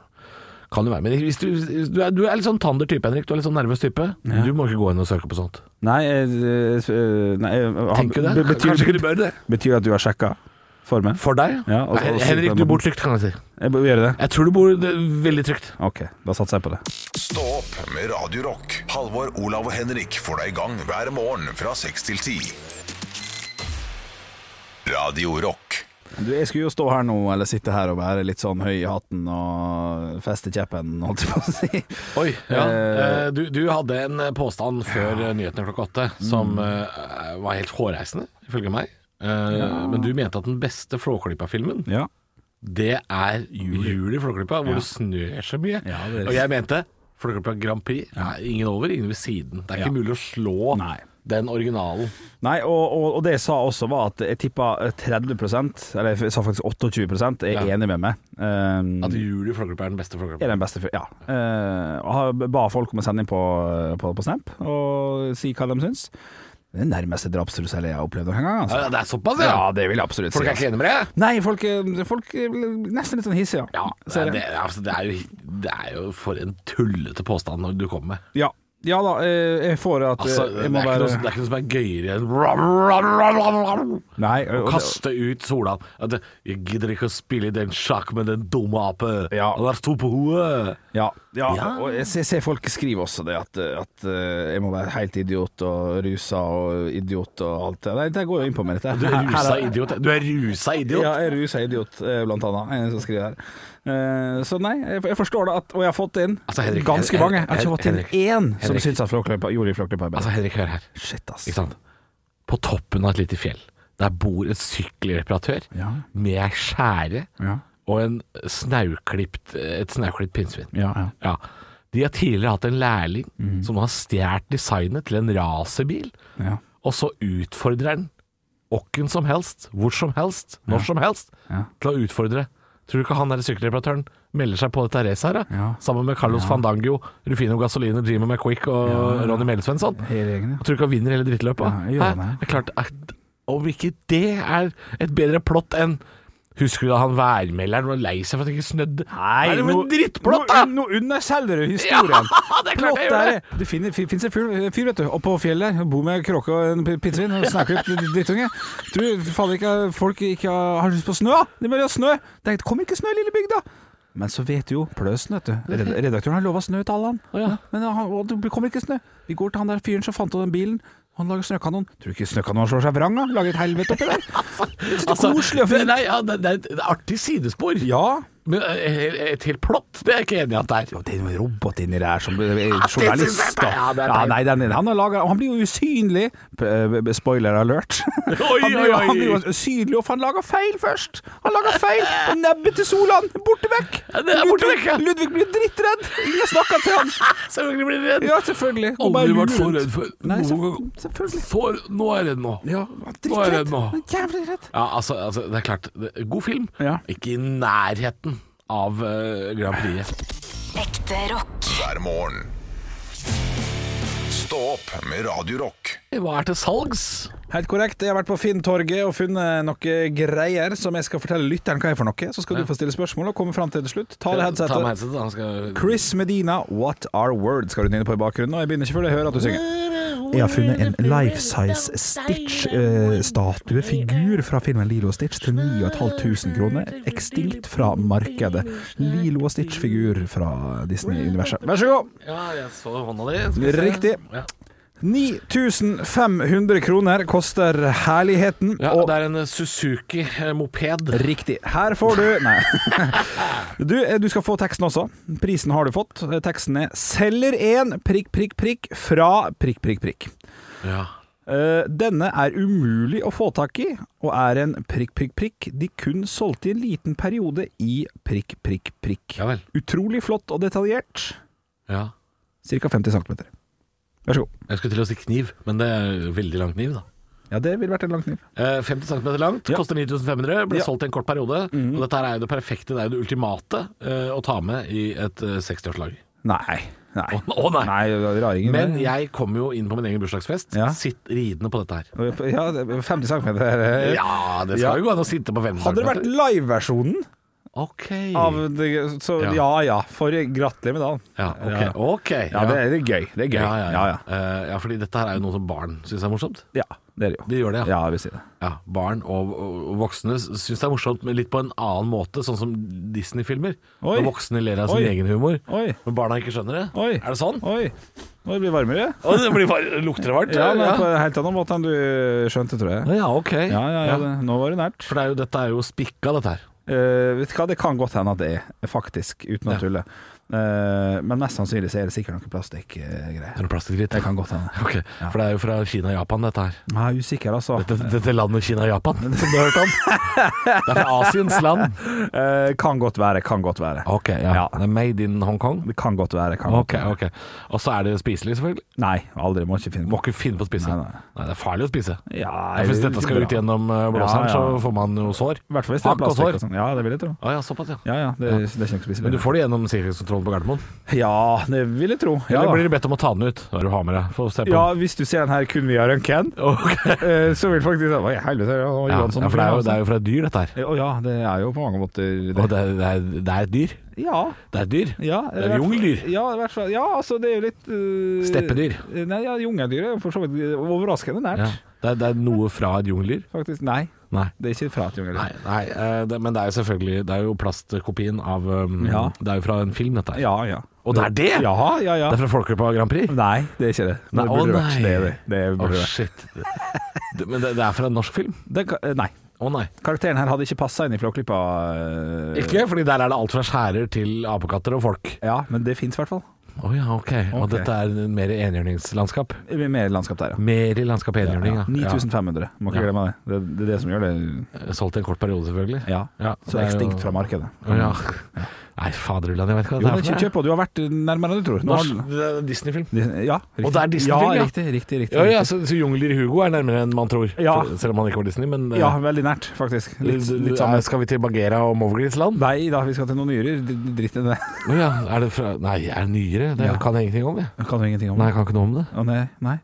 Kan det være. Men hvis du, hvis du, er, du er litt sånn tander type, Henrik. Du er litt sånn nervøs type. Du må ikke gå inn og søke på sånt. Nei, eh, eh, nei eh, Tenker du det? be- Betyr, Kanskje ikke du bør det? betyr det at du har sjekka formen? For deg? Ja, og- Nei, og- Henrik, du bor trygt, kan jeg si. Jeg bør gjøre det? Jeg tror du bor eh, veldig trygt. Ok, da satser jeg på det. Stå opp med Radio Rock. Halvor, Olav og Henrik får deg i gang hver morgen fra 6 til 10. Radio Rock. Du, jeg skulle jo stå her nå, eller sitte her og være litt sånn høy i hatten og feste kjeppen, holdt jeg på å si. Oi, ja. Eh, Eh, du, du hadde en eh, påstand før eh, nyhetene klokka åtte som Mm. eh, var helt hårreisende, ifølge meg. Eh, Men du mente at den beste Flåklypa-filmen, Ja. det er Jul i Flåklypa, hvor det snør så mye. Ja, det er- Og jeg mente Flåklypa Grand Prix. Nei, ingen over, ingen ved siden. Det er ikke mulig å slå Nei. den originalen. Nei, og, og, og det jeg sa også var at jeg tippa 30 eller jeg sa faktisk 28 er Ja. enig med meg. Um, At Jul i Flåklypa er den beste Flåklypa. er den beste fyr, ja. Eh, og har- ba folk om å sende inn på, på, på Snap og si hva de syns. Det er den nærmeste drapstrusselet jeg har opplevd noen gang. Altså. Ja, det er såpass, ja! Ja, det vil jeg absolutt Folk si. er ikke Altså. enige med det? Nei, folk, er- folk er nesten litt sånn hissige, ja. Ja, Ser jeg. det, er- altså, det, er jo, det er jo for en tullete påstand når du kommer med. Ja, ja da, eh, jeg får at eh, Altså, det, er jeg ikke må noe, være som- det er ikke noe som er gøyere enn ram, ram, ram, ram, ram. Nei, og, det- Kaste ut sola. At det- Jeg gidder ikke å spille i den sjakk med den dumme ape. Ja. Han har to på hodet. ja, ja, Ja. og jeg ser, ser folk skriver også det, at, at eh, jeg må være helt idiot og rusa og idiot og alt det. Nei, det går jo inn på meg, dette. Du er Her- her rusa idiot. Du er rusa idiot. Ja, jeg er rusa idiot, eh, blant annet. En som skriver her. Eh, Så nei, jeg jeg forstår det, at, og jeg har fått inn Altså, Henrik, ganske Hen- mange. Jeg har ikke fått inn Henrik, én som Henrik. syns at Flåklypa gjorde Flåklypa bedre. Altså, Henrik, hør her. Shit, ass. Ikke sant? På toppen av et lite fjell, der bor en sykkelreparatør Ja. med ei skjære Ja. og en snauklipt, et snauklipt pinnsvin. Ja, ja. Ja. De har tidligere hatt en lærling som har stjålet designet til en racerbil, Mhm. Ja. og så utfordrer han åkken som helst, hvor som helst, når som helst, Ja. til å utfordre. Tror du ikke han der sykkelreparatøren melder seg på dette racet her, da? Ja. sammen med Carlos Fandango, Rufino Gasolino, Jimmy McQuick og Ronny Melesvensson? Hele gjengen, ja. Tror du ikke han vinner hele drittløpet? Ja, jeg gjør Hæ? det. Det er klart at om ikke det er et bedre plott enn Husker du da han værmelderen var lei seg for at det ikke snødde? Nei, det var nå- drittplott, da! Nå, nå underselger du historien. Ja, det er klart jeg gjør Plott er- det. Det finner- fin- finnes en fyr, fyr, vet du, oppe på fjellet. Bor med kråke og en pi- pinnsvin og snakker ut drittunge. Tror du faen ikke folk ikke har har lyst på snø? da? De bare ha snø. Det kommer ikke snø i lille bygda. Men så vet du jo pløsen, vet du. Red- Redaktøren har lova snø til alle, han. ja. Men han, og det kommer ikke snø. Vi går til han der fyren som fant av den bilen. Han lager snøkanon. Tror du ikke snøkanon slår seg vrang, da? Lager et helvete oppi der. Så koselig og fint. Nei, ja, Altså, det, det er et det er et artig sidespor. Ja. Men eh, et helt plott, det er jeg ikke enig i at det er. Jo, det er jo en robot inni der som er synes jeg journalist. det er- sånn- da. ja, det er Ja, deilig. nei, den, er- han, har laget, han blir jo usynlig. P- eh, Spoiler alert. Oi, Han blir, jo- oi, oi. han blir jo usynlig, og for han lager feil først. Han lager feil, og nebbet til Solan borte vekk. Ja, det er borte Ludvig- vekk, ja. Ludvig blir drittredd. Ingen snakker til han. Selvfølgelig blir det redd. Ja, selvfølgelig. Og bare Aldri vært lurer så rundt. redd før. Nei, Noen selv- gang. selvfølgelig. Så- nå er jeg redd nå. Ja, Nå er jeg drittredd. redd nå. Jævlig redd. Ja, altså, altså, det er klart. det- God film. Ja. Ikke i nærheten av eh, Grand Prix. Ekte rock. hver morgen. Stå opp med Radio Rock. Hva er til salgs? Helt korrekt. Jeg har vært på Finntorget og funnet noen greier som jeg skal fortelle lytteren hva er for noe. Så skal du få stille spørsmål og komme fram til det til slutt. Ta det headsetet. Ta med headsetet, da. Skal... Chris Medina, What Are Words, skal du nynne på i bakgrunnen. Og jeg begynner ikke før jeg hører at du synger. Jeg har funnet en life-size Stitch-statuefigur eh, fra filmen Lilo og Stitch til 9500 kroner, ekstinkt fra markedet. Lilo og Stitch-figur fra Disney-universet. Vær så god! Ja, jeg så hånda di. Skal vi se. Riktig. Ja. 9500 kroner koster herligheten. Ja, og Det er en eh, Suzuki-moped. Riktig. Her får du Nei. Du, eh, du skal få teksten også. Prisen har du fått. Eh, Teksten er 'Selger en prikk, prikk, prikk fra prikk, prikk, prikk'. Ja. Eh, Denne er umulig å få tak i, og er en prikk, prikk, prikk de kun solgte i en liten periode i prikk, prikk, prikk. Ja vel. Utrolig flott og detaljert. ja. Ca. 50 cm. Vær så god. Jeg skulle til å si kniv, men det er jo veldig lang kniv, da. Ja, det ville vært en lang kniv. Eh, 50 cm langt, Ja. koster 9500, ble Ja. Mhm. solgt i en kort periode. Og dette her er jo det perfekte, det er jo det ultimate eh, å ta med i et eh, 60-årslag. Nei. Nei. Å å nei. nei raringen. Men jeg kom jo inn på min egen bursdagsfest, Ja. sitt ridende på dette her. Ja, det er 50 cm. Hadde Ja, det Eh, Ja. skal jo gå an å sitte på 50 cm. det vært liveversjonen Ok. av det, Så Mm. Ja. ja ja, for gratulerer med dagen. Ja, ok. Ja. ok. Ja, det er, det er gøy. Det er gøy. Ja, ja, ja. Eh, ja, fordi dette her er jo noe som barn syns er morsomt. Ja, det er det jo. De gjør det, ja. Ja, vi sier det. ja barn og, og voksne syns det er morsomt, men litt på en annen måte, sånn som Disney-filmer. Oi. Når voksne ler av sin Oi. egen humor, Oi. men barna ikke skjønner det. Oi. Er det sånn? Oi. Nå blir det varmere. Oi, det blir bare, lukter det varmt? Ja, men på ja. en helt annen måte enn du skjønte, tror jeg. ja ok. Ja, ja, ja, det, nå var det nært. For det er jo, dette er jo spikka, dette her. Eh, vet du hva, det kan godt hende at det er, faktisk, uten å Ja. tulle. Eh, men mest sannsynlig så er det sikkert noe plastikkgreier. Er det plastikkritt? det kan godt hende. Ok, For det er jo fra Kina og Japan, dette her. Jeg er usikker, altså. Dette, dette landet Kina og Japan, som du har hørt om. Det er fra Asiens land. Eh, kan godt være, kan godt være. Ok, ja. Ja. Det er made in Hongkong. Det kan godt være. Kan godt Ok, være. ok. Og så er det spiselig, selvfølgelig. Nei, aldri. Må ikke finne Må ikke finne på å spise. Nei, Nei, nei. det er farlig å spise. Ja, Ja, hvis det er dette ikke skal bra. ut gjennom eh, Ja, blåseren, ja. så får man jo sår. I hvert fall hvis det er Hakk og plastikk og sår. sånn. Ja, det vil jeg tro. Å ja, såpass, ja. Ja, ja, det, er- det er ikke noe spiselig. Men du får det gjennom sikkerhetskontrollen på Gardermoen. Ja, det vil jeg tro. Ja, Eller da. blir du bedt om å ta den ut? Hva er det du har med deg? Få se på ja, hvis du ser den her kun via røntgen, den. Ok. eh, så vil folk si sånn Hva i helvete? Ja, det var Ja, ja, Johansson og for det er, jo, Finn det er jo fra et dyr, dette her. Hansen». Å ja, det er jo på mange måter det. Og det, er- det, er, det er et dyr. Ja. Det er et dyr. ja i Det er hvert fall- jungeldyr. Ja, i hvert fall. Ja, altså, det er jo litt eh, Steppedyr. Nei, ja, jungeldyr er jo for så vidt overraskende nært, Ja. Det, er, det er noe fra et jungeldyr. faktisk. Nei, Nei. det er ikke fra et jungeldyr. Nei, nei eh, det, men det er jo selvfølgelig Det er jo plastkopien av um, Ja. Det er jo fra en film, dette her. Ja, ja. Og det er det?! Ja, ja, ja. Det er fra Folkeklubba Grand Prix? Nei, det er ikke det. Nei, det å burde det vært. nei. Det er det. det, Å, burde det. vært. shit. Det- Men det, det er fra en norsk film? Det, ka- eh, nei. Å nei. Karakteren her hadde ikke passa inn i Flåklypa. eh, Ikke, fordi der er det alt fra skjærer til apekatter og folk. Ja, men det fins i hvert fall. Å ja, ok. Og Ok. dette er mer enhjørningslandskap? Mer landskap der, ja. Mer i landskap enhjørning, ja. 9500, må ikke Ja. glemme det. det. Det er det som gjør det Ja. Solgt i en kort periode, selvfølgelig. Ja. Ja, Så det er jo- ekstinkt fra markedet. Å ja. Nei, faderullan, jeg vet ikke Jo, hva men ikke det er for noe. kjøp på, du har vært nærmere enn du tror. Nå Norsk har- det er en Disney-film. Dis- Ja, riktig. Og det er Disney-film, ja. ja. Riktig, riktig, riktig. Ja, ja, riktig. så, så Jungler i Hugo er nærmere enn man tror. Ja. For- Selv om han ikke var Disney, men eh, ja, veldig nært, faktisk. Litt, du- du- litt samme. er- Skal vi til Bagheera og Mowglis land? Nei da, vi skal til noen nyrer. D- Dritt i det. Å ja, er det fra Nei, er det nyere? Det Ja. kan jeg ingenting om, jeg. Jeg Kan jo ingenting om Nei, det. jeg kan ikke noe om det. Å, Nei. nei.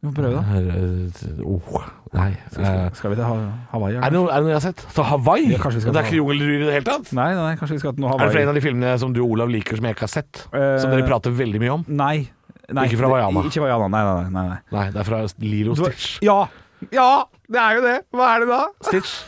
Du må prøve, da. Her, eh, oh, nei. eh, Skal, skal vi til Ha- Hawaii? Er det, noe, er det noe jeg har sett? Så Hawaii? Ja, kanskje vi skal det er ta- ikke jungeldyr i det hele tatt? Nei, nei, nei, kanskje vi skal til noe Er det flere Hawaii. av de filmene som du og Olav liker som jeg ikke har sett? som Eh, dere prater veldig mye om? Nei. nei Ikke fra Vaiana. det- Ikke Vaiana, nei, nei, nei. nei. Nei, det er fra Lilo Du har- Stitch. Ja! Ja, det er jo det. Hva er det da? Stitch.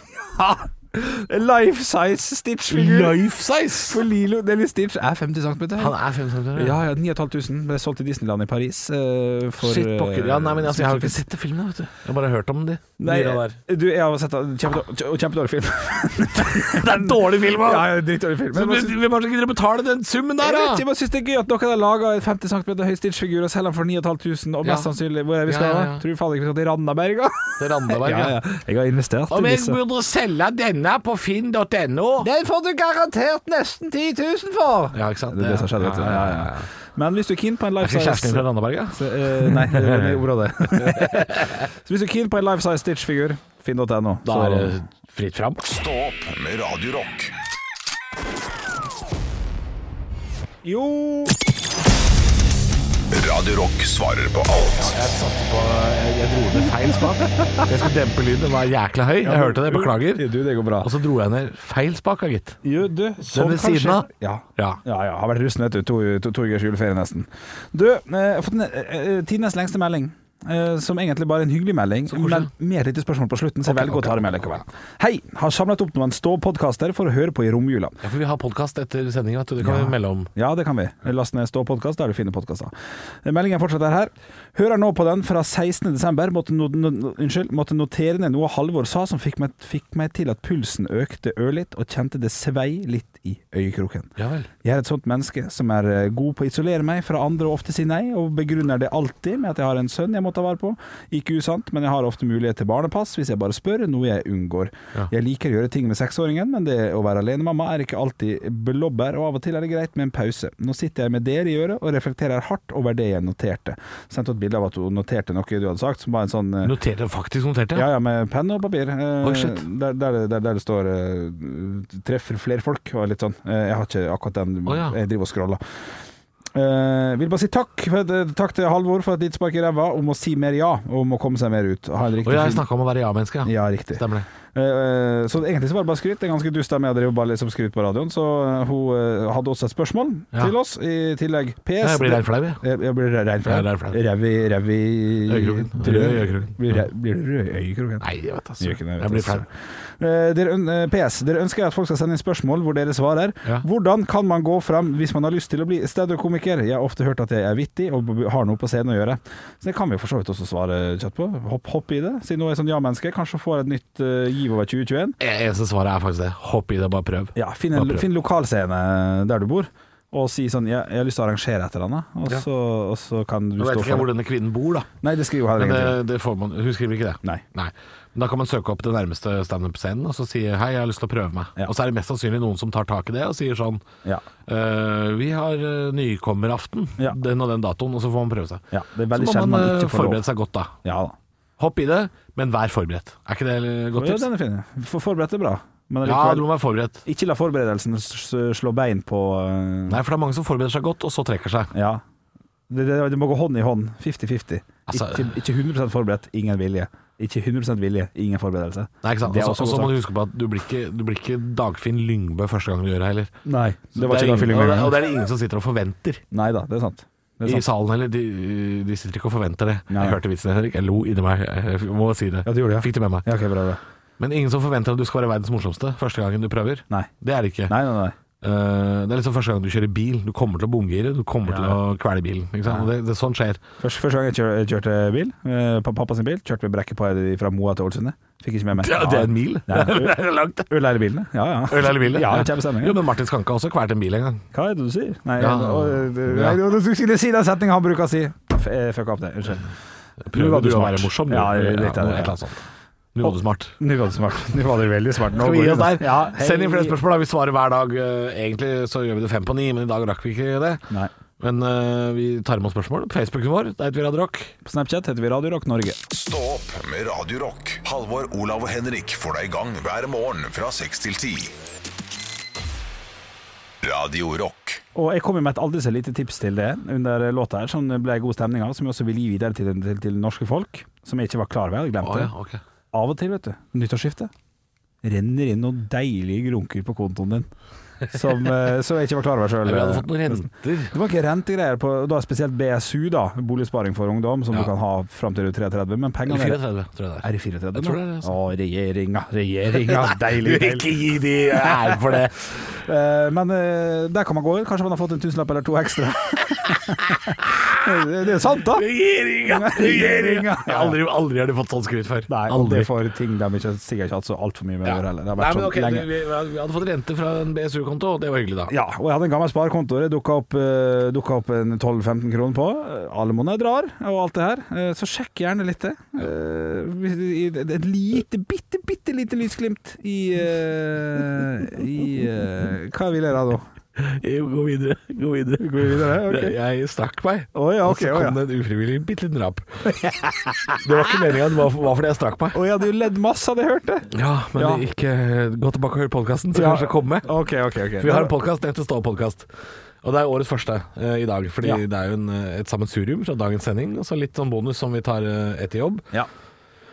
Life size Stitch-figur. Life size! For Lilo Nelly Stitch er 50 cm. Han er 500 Ja, ja, 9500 ble solgt i Disneyland i Paris. eh, for, Shit pokker. Ja, nei, men altså, jeg har jo ikke sett sett det filmene, vet du. Jeg har bare hørt om de. Nei, eh, dyra der. du, jeg har sett den. Kjempedårlig kjempe film. Det er dårlig film, da! ja, ja, drittdårlig film. Så Men altså- jeg bare Hvem syns- hvem har så gidder å betale den summen jeg vet der, ikke, da? jeg bare syns det er gøy at noen har laga en 50 cm høy Stitch-figur og selger den for 9500, og mest Ja. sannsynlig hvor er vi skal Ja, ja, da? ja. Tror du faen ikke vi skal til Randaberg, da? Det er Randaberg, Ja, ja. Jeg har investert i disse. burde selge denne på finn.no Den får du garantert nesten 10 000 for! Ja, ikke sant? Det er det som skjedde, vet du. Ja, ja, ja. Men hvis du er keen på en Er life ikke kjæresten din size fra Randaberg, ja? Så, eh, nei, det var det ordet av det. så hvis du er keen på en life size Stitch-figur, finn.no. Da så- er det fritt fram. Stå opp med Radio Rock. Jo Radio Rock svarer på alt Jeg satte på Jeg dro ned feil spak. Jeg skulle dempe lyden, den var jækla høy. Jeg hørte det, beklager. Du, det går bra. Og så dro jeg ned feil spak, ja, gitt. Jo, du, sånn ved siden kanskje- av? Ja. Ja. Ja, ja, har vært russen vet du, to, to, to ukers juleferie nesten Du, eh, jeg har fått en, eh, eh, tidenes lengste melding eh, som egentlig bare er en hyggelig melding, Så koselig. men med et lite spørsmål på slutten, så jeg Ok, velger ok, å ta det med ok, likevel. Hei! Har samlet opp noen ståpodkaster for å høre på i romjula. Ja, for vi har podkast etter sendinga, det kan Ja. vi melde om. Ja, det kan vi. Last ned Stå-podkast, der du finner podkaster. Meldingen fortsetter her. Hører nå på den fra 16.12. Måtte, no, no, no, unnskyld, måtte notere ned noe Halvor sa som fikk meg, fikk meg til at pulsen økte ørlitt, og kjente det svei litt i øyekroken. Ja vel. Jeg er et sånt menneske som er eh, god på å isolere meg fra andre og ofte si nei, og begrunner det alltid med at jeg har en sønn jeg må ta vare på. Ikke usant, men jeg har ofte mulighet til barnepass hvis jeg bare spør, noe jeg unngår. Ja. Jeg liker å gjøre ting med seksåringen, men det å være alenemamma er ikke alltid blåbær, og av og til er det greit med en pause. Nå sitter jeg med dere i øret og reflekterer hardt over det jeg noterte. Sendte et bilde av at hun noterte noe du hadde sagt, som var en sånn eh, Noterte, faktisk noterte. ja, ja, med penn og papir. Eh, Oi, shit. der, der, det- der, der det står eh, 'treffer flere folk' og litt sånn. Eh, jeg har ikke akkurat den. Å, ja. Jeg driver og scroller. Eh, vil bare si takk, for, at- eh, takk til Halvor for et lite spark i ræva om å si mer ja, og om å komme seg mer ut. Ha en riktig Og jeg fin- snakka om å være ja-menneske, ja. Ja, riktig. Stemmer det. Eh, så egentlig så var det bare skryt. Det er ganske dust av meg å drive bare liksom skryt på radioen. Så eh, hun eh, hadde også et spørsmål Ja. til oss i tillegg. PS. Ja, jeg blir rein flau, jeg. Jeg, jeg blir rein Jeg er rein flau. flau. Ræv i Ræv i Øyekroken. Til- Rød i øyekroken. Blir ræ- blir du rød i øyekroken? Nei, jeg vet altså. Gjør ikke det, vet jeg blir altså. flau. Eh, dere, øn- eh, PS. Dere ønsker at folk skal sende inn spørsmål hvor dere svarer. Ja. Hvordan kan man gå fram hvis man har lyst til å bli standup-komiker? Jeg har ofte hørt at jeg er vittig og b- har noe på scenen å gjøre. Så det kan vi jo for så vidt også svare kjapt på. Hopp, hopp i det. Siden nå er jeg sånn ja-menneske, kanskje får et nytt eh, giv over 2021. Eneste svaret er faktisk det. Hopp i det, bare prøv. Ja, finn, Bare en, prøv. finn lokalscene der du bor, og si sånn jeg, 'Jeg har lyst til å arrangere et eller annet', og, Ja. så, og så kan du Nå vet stå ikke jeg for hvor det. denne kvinnen bor, da. Nei, det skriver jo heller Men eh, det, ingenting. det får man, hun skriver ikke det. Nei. Men da kan man søke opp den nærmeste standup-scenen og så si 'hei, jeg har lyst til å prøve meg'. Ja. Og så er det mest sannsynlig noen som tar tak i det og sier sånn Ja. «Eh, 'vi har eh, nykommeraften Ja. den og den datoen', og så får man prøve seg. Ja, det er så veldig må sjelden man man eh, ikke får lov. forberede seg godt da. Ja da. Hopp i det, men vær forberedt. Er ikke det et godt Ja, tips? den er fin. For- Forberedt er bra. Men Ja, allikevel- du må være forberedt. Ikke la forberedelsen s- s- slå bein på eh, Nei, for det er mange som forbereder seg godt, og så trekker seg. Ja. Det, det, det må gå hånd i hånd. 50-50. Altså- ikke, ikke 100 forberedt, ingen vilje. Ikke 100 vilje, ingen forberedelse. Nei, ikke sant? Det er Også, også også godt må du huske på at du blir ikke, du blir ikke Dagfinn Lyngbø første gang du gjør det heller. Nei, det var er ikke da ingen, filmen og, det, og engang. det er det ingen som sitter og forventer Nei da, det er sant. Det er i sant. salen heller. De, de sitter ikke og forventer det. Nei. Jeg hørte vitsen, Henrik. Jeg lo inni meg. Jeg må si det. Ja, du gjorde det, ja. Fikk det med meg. Ja, ok, bra, bra. Men ingen som forventer at du skal være verdens morsomste første gangen du prøver. Nei. Det er det ikke. Nei, nei, nei. Eh, det er liksom første gang du kjører bil. Du kommer til å bomgire, du kommer til å kvele bilen. Ikke sant? Og Det, det, sånn skjer. Første, første gang jeg kjør, kjørte bil, eh, pa- pappa sin bil, kjørte vi brekket på ei fra Moa til Ålesund. Fikk ikke med meg. Ja, det er en mil. Nei, det er langt. det. Øl er i bilene? Ja, ja. Øl eller bil? det. Ja, kjempestemning. Jo, men Martin Skanke har også kvalt en bil en gang. Hva er det du sier? Nei, Ja. og- Ja. nei du, du skulle si den setningen han bruker å si. F- eh, Fuck opp det. Unnskyld. Nå var Prøver du du å smart. være morsom? du? Ja, ja, litt noe, av et det, ja. eller annet sånt. Nå var du smart. Nå var du smart. Nå var du veldig smart. Nå Skal vi går gi det oss nå. der? Ja, hei. Send inn flere spørsmål. da. Vi svarer hver dag. Eh, Egentlig så gjør vi det fem på ni, men i dag rakk vi ikke det. Nei. Men eh, vi tar imot spørsmål. På Facebooken vår, der heter vi Radio Rock. På Snapchat heter vi Radio Rock Norge. Stå opp med Radio Rock. Halvor, Olav og Henrik får deg i gang hver morgen fra 6 til 10. Radio Rock. Og jeg kom jo med et aldri så lite tips til det under låta her, som det ble god stemning av, som jeg også vil gi videre til, til, til norske folk, som jeg ikke var klar over. Jeg hadde glemt Å, det. ja, ok. Av og til, vet du, nyttårsskiftet, renner inn noen deilige grunker på kontoen din, som, eh, som jeg ikke var klar over sjøl. Eller vi hadde fått noen renter. Det var ikke rentegreier på og da spesielt BSU, da, boligsparing for ungdom, som Ja. du kan ha fram til du er 33, men Eller pengene 34, tror jeg det er. Er det 34? Jeg tror det er det, altså. Å, regjeringa, regjeringa, deilig. Du vil deilig. ikke gi de ære for det. Eh, men eh, der kan man gå ut. Kanskje man har fått en tusenlapp eller to ekstra. det, det er sant, da. Regjeringa! Regjeringa! Ja. Aldri, aldri har de fått sånn skryt før. Nei, og aldri. det får ting de ikke, sikkert ikke har hatt så altfor mye med å Ja. gjøre heller. Det har Nei, vært men ok, sånn du, lenge. vi, vi hadde fått rente fra en BSU-konto, og det var hyggelig, da. Ja, og jeg hadde en gammel sparekonto det dukka opp, eh, dukket opp en 12-15 kroner på. Eh, Alle måneder drar, og alt det her. Eh, så sjekk gjerne litt det. Eh, hvis- i- et- et lite, bitte, bitte lite lysglimt i, eh, i eh, Hva vil jeg da nå? Jo, Gå videre. Gå videre. Går vi videre? Ok. Jeg stakk meg, Å ja, ok. og så Å kom ja. det en ufrivillig bitte liten rap. Det var ikke meninga, det var var fordi jeg strakk meg. Å, jeg hadde jo ledd masse, hadde jeg hørt det. Ja, men Ja. ikke eh, Gå tilbake og hør podkasten, så Ja. kanskje det kommer med. Ok, ok, ok. For vi har en podkast, den heter Stå podkast. Og det er årets første eh, i dag, fordi Ja. det er jo en, eh, et sammensurium fra dagens sending. Og så litt sånn bonus som vi tar eh, etter jobb. Ja.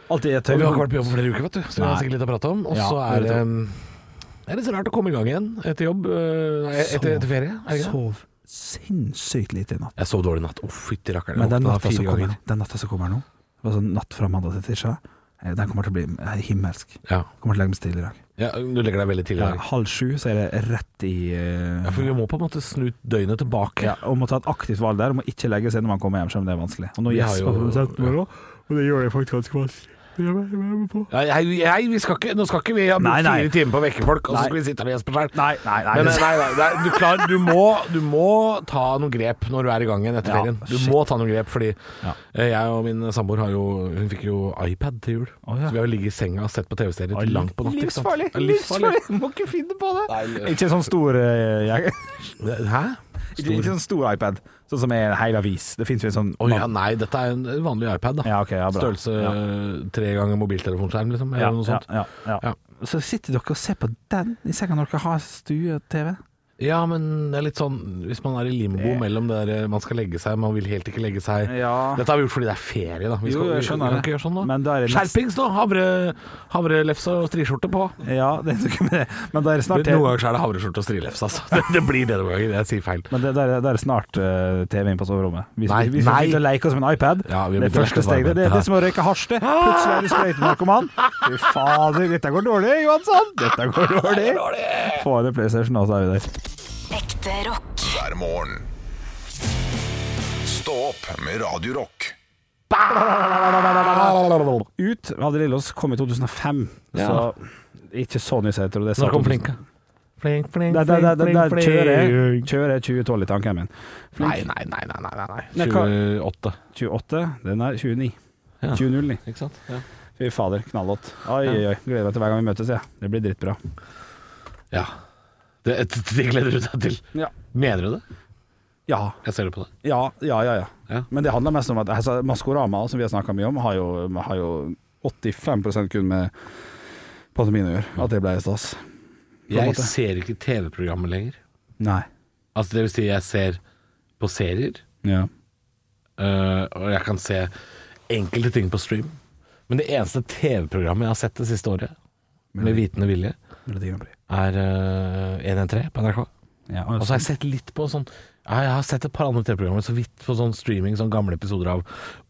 Alltid et Og vi har ikke høydepunkt. vært på jobb på flere uker, vet du, så vi Nei. har sikkert litt å prate om. Og Ja, så er det det tror eh, det er litt så rart å komme i gang igjen etter jobb. eh, Nei, etter, etter ferie, er det ikke det? Sov sinnssykt lite i natt. Jeg sov dårlig i natt. Å, fytti rakkeren. Men jeg den våkna natta som fire kommer ganger. nå, den natta som kommer nå Det var sånn natt fra mandag til tirsdag. Eh, Den kommer til å bli eh, himmelsk. Ja. Kommer til å legge meg stille i dag. ja. Du legger deg veldig tidlig i Ja, dag. halv sju så er det rett i eh, Ja, for vi må på en måte snu døgnet tilbake. ja, Om å ta et aktivt valg der, om å ikke legge seg når man kommer hjem, selv om det er vanskelig. Og nå Vi har gjesper jo- produsenten vår òg, og det gjør det faktisk ganske vanskelig. Jeg er med på. Nei, nei, nei, vi skal ikke, nå skal ikke vi ha Nei, brukt nei. fire timer på å vekke folk, og så Nei. skal vi sitte her og gjespe sjøl. Nei, nei, nei. Men, eh, det- nei, nei, nei du, klar, du, må, du må ta noen grep når du er i gang igjen etter Ja, ferien. Du shit. må ta noen grep, fordi Ja. eh, jeg og min samboer har jo Hun fikk jo iPad til jul. Å, ja. Så vi har jo ligget i senga og sett på TV-serier til langt på natt. ikke sant? Livsfarlig! Ja, Livsfarlig! Må ikke finne på det. Ikke sånn stor eh, jeg, Hæ? Ikke ikke sånn stor iPad, sånn som er en hel avis. Det fins jo en sånn Å ja, nei, dette er en vanlig iPad, da. Ja, ok, ja, bra. Størrelse eh, tre ganger mobiltelefonskjerm, liksom. Eller ja, noe sånt. Ja, ja, ja. Så sitter dere og ser på den i senga når dere har stue-TV? Ja, men det er litt sånn Hvis man er i limbo mellom det der eh, man skal legge seg, man vil helt ikke legge seg Ja. Dette har vi gjort fordi det er ferie, da. Vi, Jo, skal, jeg vi, skjønner kan det. ikke gjøre sånn, da. Men da er det nest- Skjerpings, da! Havre, havrelefse og striskjorte på. Ja, det er ikke med det. Men da er det Noen snart TV, ganger så er det havreskjorte og strilefse, altså. Det, det blir det noen ganger. Jeg sier feil. men det, da er det- da er det snart eh, TV inn på soverommet. Hvis Nei, vi- hvis vi nei. begynner å leke oss med en iPad, Ja, vi det er begynner å leke første oss med steget. Det, iPad, det ja. er som å røyke hasj, det. Plutselig er du sprøytenarkoman. Fy fader, dette går dårlig, Johansson. Dette går dårlig. Få inn en PlayStation, nå, så er vi der. Ekte rock. hver morgen. Stå opp med Radio Rock. Ut Hadde Lillås kom i 2005, så ikke så nyheter. og Det sa Når kom 2000. Flinka? Flink, flink, Der, der, der, der, der flink, kjører jeg flink. kjører jeg 2012 i tanken min. Nei, nei, nei, nei, nei, nei. Nei, nei. hva- 28. 28, den er 29. Ja. 2009. Ikke sant? Ja. Fy fader, knallhått. Oi, oi, oi. Gleder meg til hver gang vi møtes, jeg. Ja. Det blir drittbra. ja. Det, det gleder du deg til. Ja. Mener du det? Ja, Jeg ser det på deg. ja, ja. ja, ja. Ja. Men det handler mest om at altså, Maskorama, som vi har snakka mye om, har jo, har jo 85 kun med pandemien å gjøre. At det ble stas. en Jeg måte. ser ikke TV-programmet lenger. Nei. Altså, det vil si, jeg ser på serier. Ja. Eh, og jeg kan se enkelte ting på stream. Men det eneste TV-programmet jeg har sett det siste året, med vitende vilje, Melodi Grand Prix. er eh, 113 på NRK. Ja, Og så har altså, jeg sett litt på sånn ja, Jeg har sett et par andre TV-programmer så vidt på sånn streaming, sånn gamle episoder av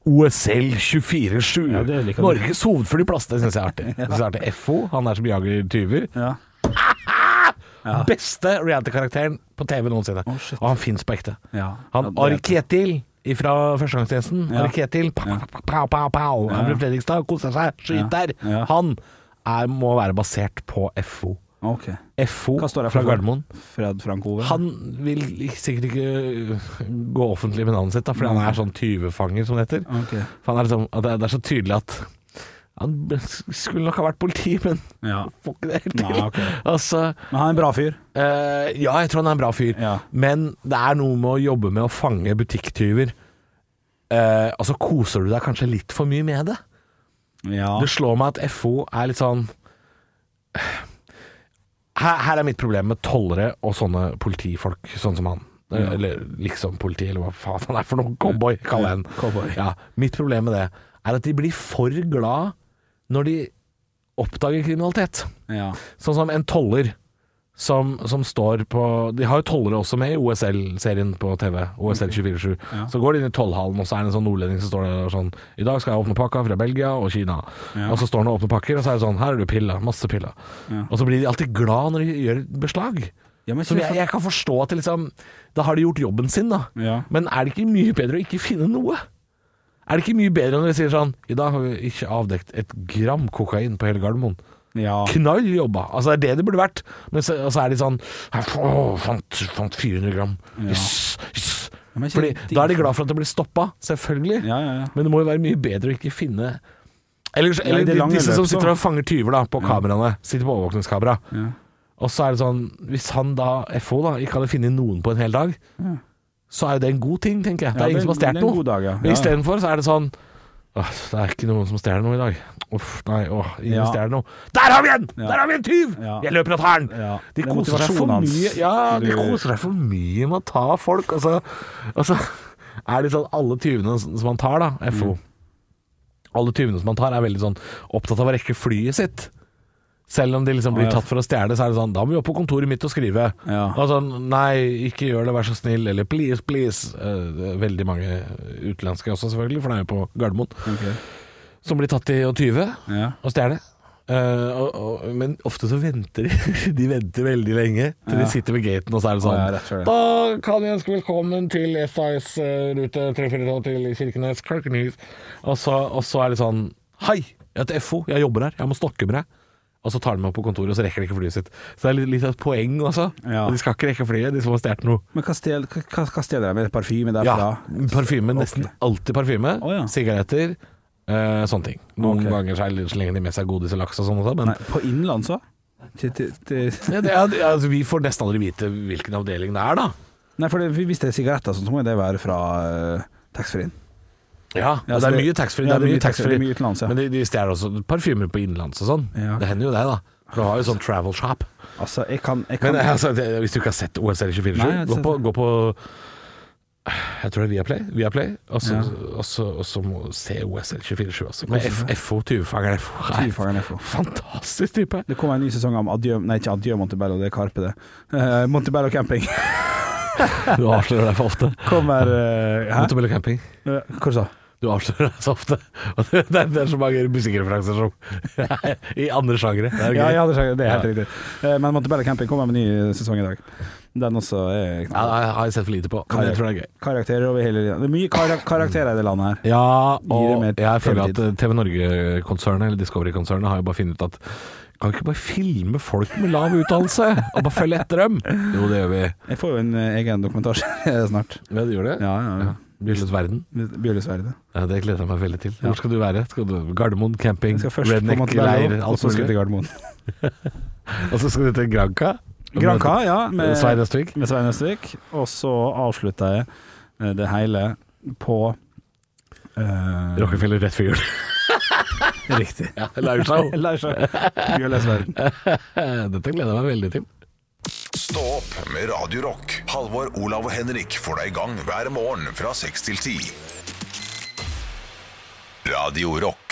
OSL 24-7. Ja, det liker du. Norges hovedflyplass. Det syns jeg er artig. Det synes jeg er artig. FO, han der som jager tyver. ja. Beste reality-karakteren på TV noensinne. shit. og han fins på ekte. Ja. Han Ja, det- Ari Ketil fra Førstegangstjenesten. Ja. Ari Ketil. Pow, pow, pow, pow. Han fra Fredrikstad. Koser seg. Skyt Ja. der. Ja. Han er, må være basert på FO. Ok. FO Hva står det fra Gardermoen. Fred Frank Ove? Han vil sikkert ikke øh, gå offentlig med navnet sitt, da, fordi han er sånn tyvefanger, som det heter. Ok. For han er liksom, at det er- det er så tydelig at han skulle nok ha vært politi, men Ja. får ikke det helt til. Nei, ok. Altså, Men han er en bra fyr. Eh, ja, jeg tror han er en bra fyr. Ja. Men det er noe med å jobbe med å fange butikktyver. Eh, og så koser du deg kanskje litt for mye med det. Ja. Det slår meg at FO er litt sånn her, her er mitt problem med tollere og sånne politifolk, sånn som han. Eh, Eller liksom politi, eller hva faen han er for noe. Cowboy, kaller jeg Ja, den. cowboy. Ja, mitt problem med det er at de blir for glad når de oppdager kriminalitet. Ja. Sånn som en toller som, som står på De har jo tollere også med i OSL-serien på TV. OSL 24-7. Så går de inn i tollhallen, og så er det en sånn nordlending som står der og sånn I dag skal jeg åpne pakka fra Belgia og Kina. Og så står han og åpner pakker, og så er det sånn Her er det piller. Masse piller. Og så blir de alltid glad når de gjør beslag. Ja, men ikke Som jeg, for- jeg kan forstå at det liksom Da har de gjort jobben sin, da. Ja. Men er det ikke mye bedre å ikke finne noe? Er det ikke mye bedre når de sier sånn I dag har vi ikke avdekt et gram kokain på hele Gardermoen. Ja. Knall jobba. Altså, det er det det burde vært. Men så, og så er de sånn «Her, Å, fant, fant 400 gram. Yes, yes. Ja, men ikke Fordi, digg. da er de glad for at det blir stoppa, selvfølgelig. Ja, ja, ja. Men det må jo være mye bedre å ikke finne Eller, i eller det de- lange disse løp, som så. sitter og fanger tyver da på kameraene. Sitter på overvåkningskamera. Ja. Og så er det sånn Hvis han da, FO, da ikke hadde funnet noen på en hel dag, så er jo det en god ting, tenker jeg. Det Ja, er ingen det- som har stjålet det er en noe. god dag, ja. Men Ja, ja. istedenfor så er det sånn Åh, det er ikke noen som stjeler noe i dag. Uff, nei, åh, ingen Ja. stjeler noe. Der har vi en! Ja. Der har vi en tyv! Ja. Jeg løper og tar den! Ja. De Det er koser seg for motivasjonen hans. mye Ja, de Du- koser seg for mye med å ta folk. Og så, og så er det sånn alle tyvene som han tar, da, FO Mm. Alle tyvene som han tar, er veldig sånn opptatt av å rekke flyet sitt. Selv om de liksom blir ja. tatt for å stjele, så er det sånn Da må vi opp på kontoret mitt og skrive. Ja. Og sånn Nei, ikke gjør det, vær så snill. Eller please, please. Eh, det er veldig mange utenlandske også, selvfølgelig, for det er jo på Gardermoen. Ok. som blir tatt i å tyve Ja. og stjele. Eh, og, og, men ofte så venter de De venter veldig lenge til de sitter ved gaten, og så er det Ja, sånn. rett før det. da kan jeg ønske velkommen til SIS eh, rute 342 til Kirkenes, Kirkenes. Og så, og så er det sånn Hei, jeg heter FO, jeg jobber her, jeg må snakke med deg. Og så tar de meg på kontoret, og så rekker de ikke flyet sitt. Så det er litt, litt av et poeng, altså. Ja. De skal ikke rekke flyet, de som har stjålet noe. Men hva stjeler hva, hva stjeler de med parfyme derfra? Ja, parfyme. Nesten alltid parfyme. Å, ja. Sigaretter. eh, sånne ting. Noen Ok. ganger så er det- så lenger de med seg godis og laks og sånn også, men Nei, på innland, så? Til, til, til. ja, det, er- det- altså, vi får nesten aldri vite hvilken avdeling det er, da. Nei, for det, hvis det er sigaretter, og sånn, så må jo det være fra uh, taxfree-en. Ja, Ja, Altså, det så er det- mye taxfree. Ja, det er mye det er taxfree. mye utenlands, ja. Men de, de stjeler også parfymer på innenlands og sånn. Ja. Det hender jo det, da. For du har jo sånn travel shop. Altså, jeg kan, jeg kan Men altså, det, hvis du ikke har sett OSL Nei, jeg har 24-7, ikke gå, sett på- gå på jeg tror det er Viaplay, Viaplay og så Ja. og så- og så må du se OSL 24-7 også. Med altså. F- FO, tyvefangeren FO. Nei, Tyvefangeren FO. Fantastisk type. Det kommer en ny sesong av Adjø Nei, ikke Adjø Montebello, det er Karpe, det. Eh, Montebello camping Du avslører deg for ofte. kommer eh, Hæ? Motorbell camping. Eh, Hva sa du? Du avslører deg så ofte. Og det, det, er, det er så mange musikkreferanser som I andre sjangere. Det er Ja, gøy. jeg hadde sagt det er helt Ja. riktig. Eh, Men Montebello camping kommer med ny sesong i dag. Den også er Ja, knall. det har jeg sett for lite på, men jeg tror det er gøy. Karakterer over hele landet. Det er mye karak karakterer i det landet her. Ja, Gir det og mer jeg føler at TV-tid. eh, TV Norge-konsernet, eller Discovery-konsernet, har jo bare funnet ut at kan vi ikke bare filme folk med lav utdannelse, og bare følge etter dem? Jo, det gjør vi. Jeg får jo en eh, egen dokumentasje snart. Ja, det gjør det. Ja, ja. Bylles verden. Bjølesverdet. Ja, det gleder jeg meg veldig til. Hvor skal du være? Skal du Gardermoen, camping, Jeg skal først på redneck, leir, Montebello, og alt så skal jeg mulig. til Gardermoen. Og så skal du til Granca. Granca, ja. Med, Svein Østvik. med Svein Østvik. Og så avslutta jeg eh, det hele på eh, Rockefeller rett før jul. Riktig. Ja, Laurshow. Bjølesverden. Dette gleder jeg meg veldig til. Stå opp med Radio Rock. Halvor, Olav og Henrik får deg i gang hver morgen fra 6 til 10. Radio Rock.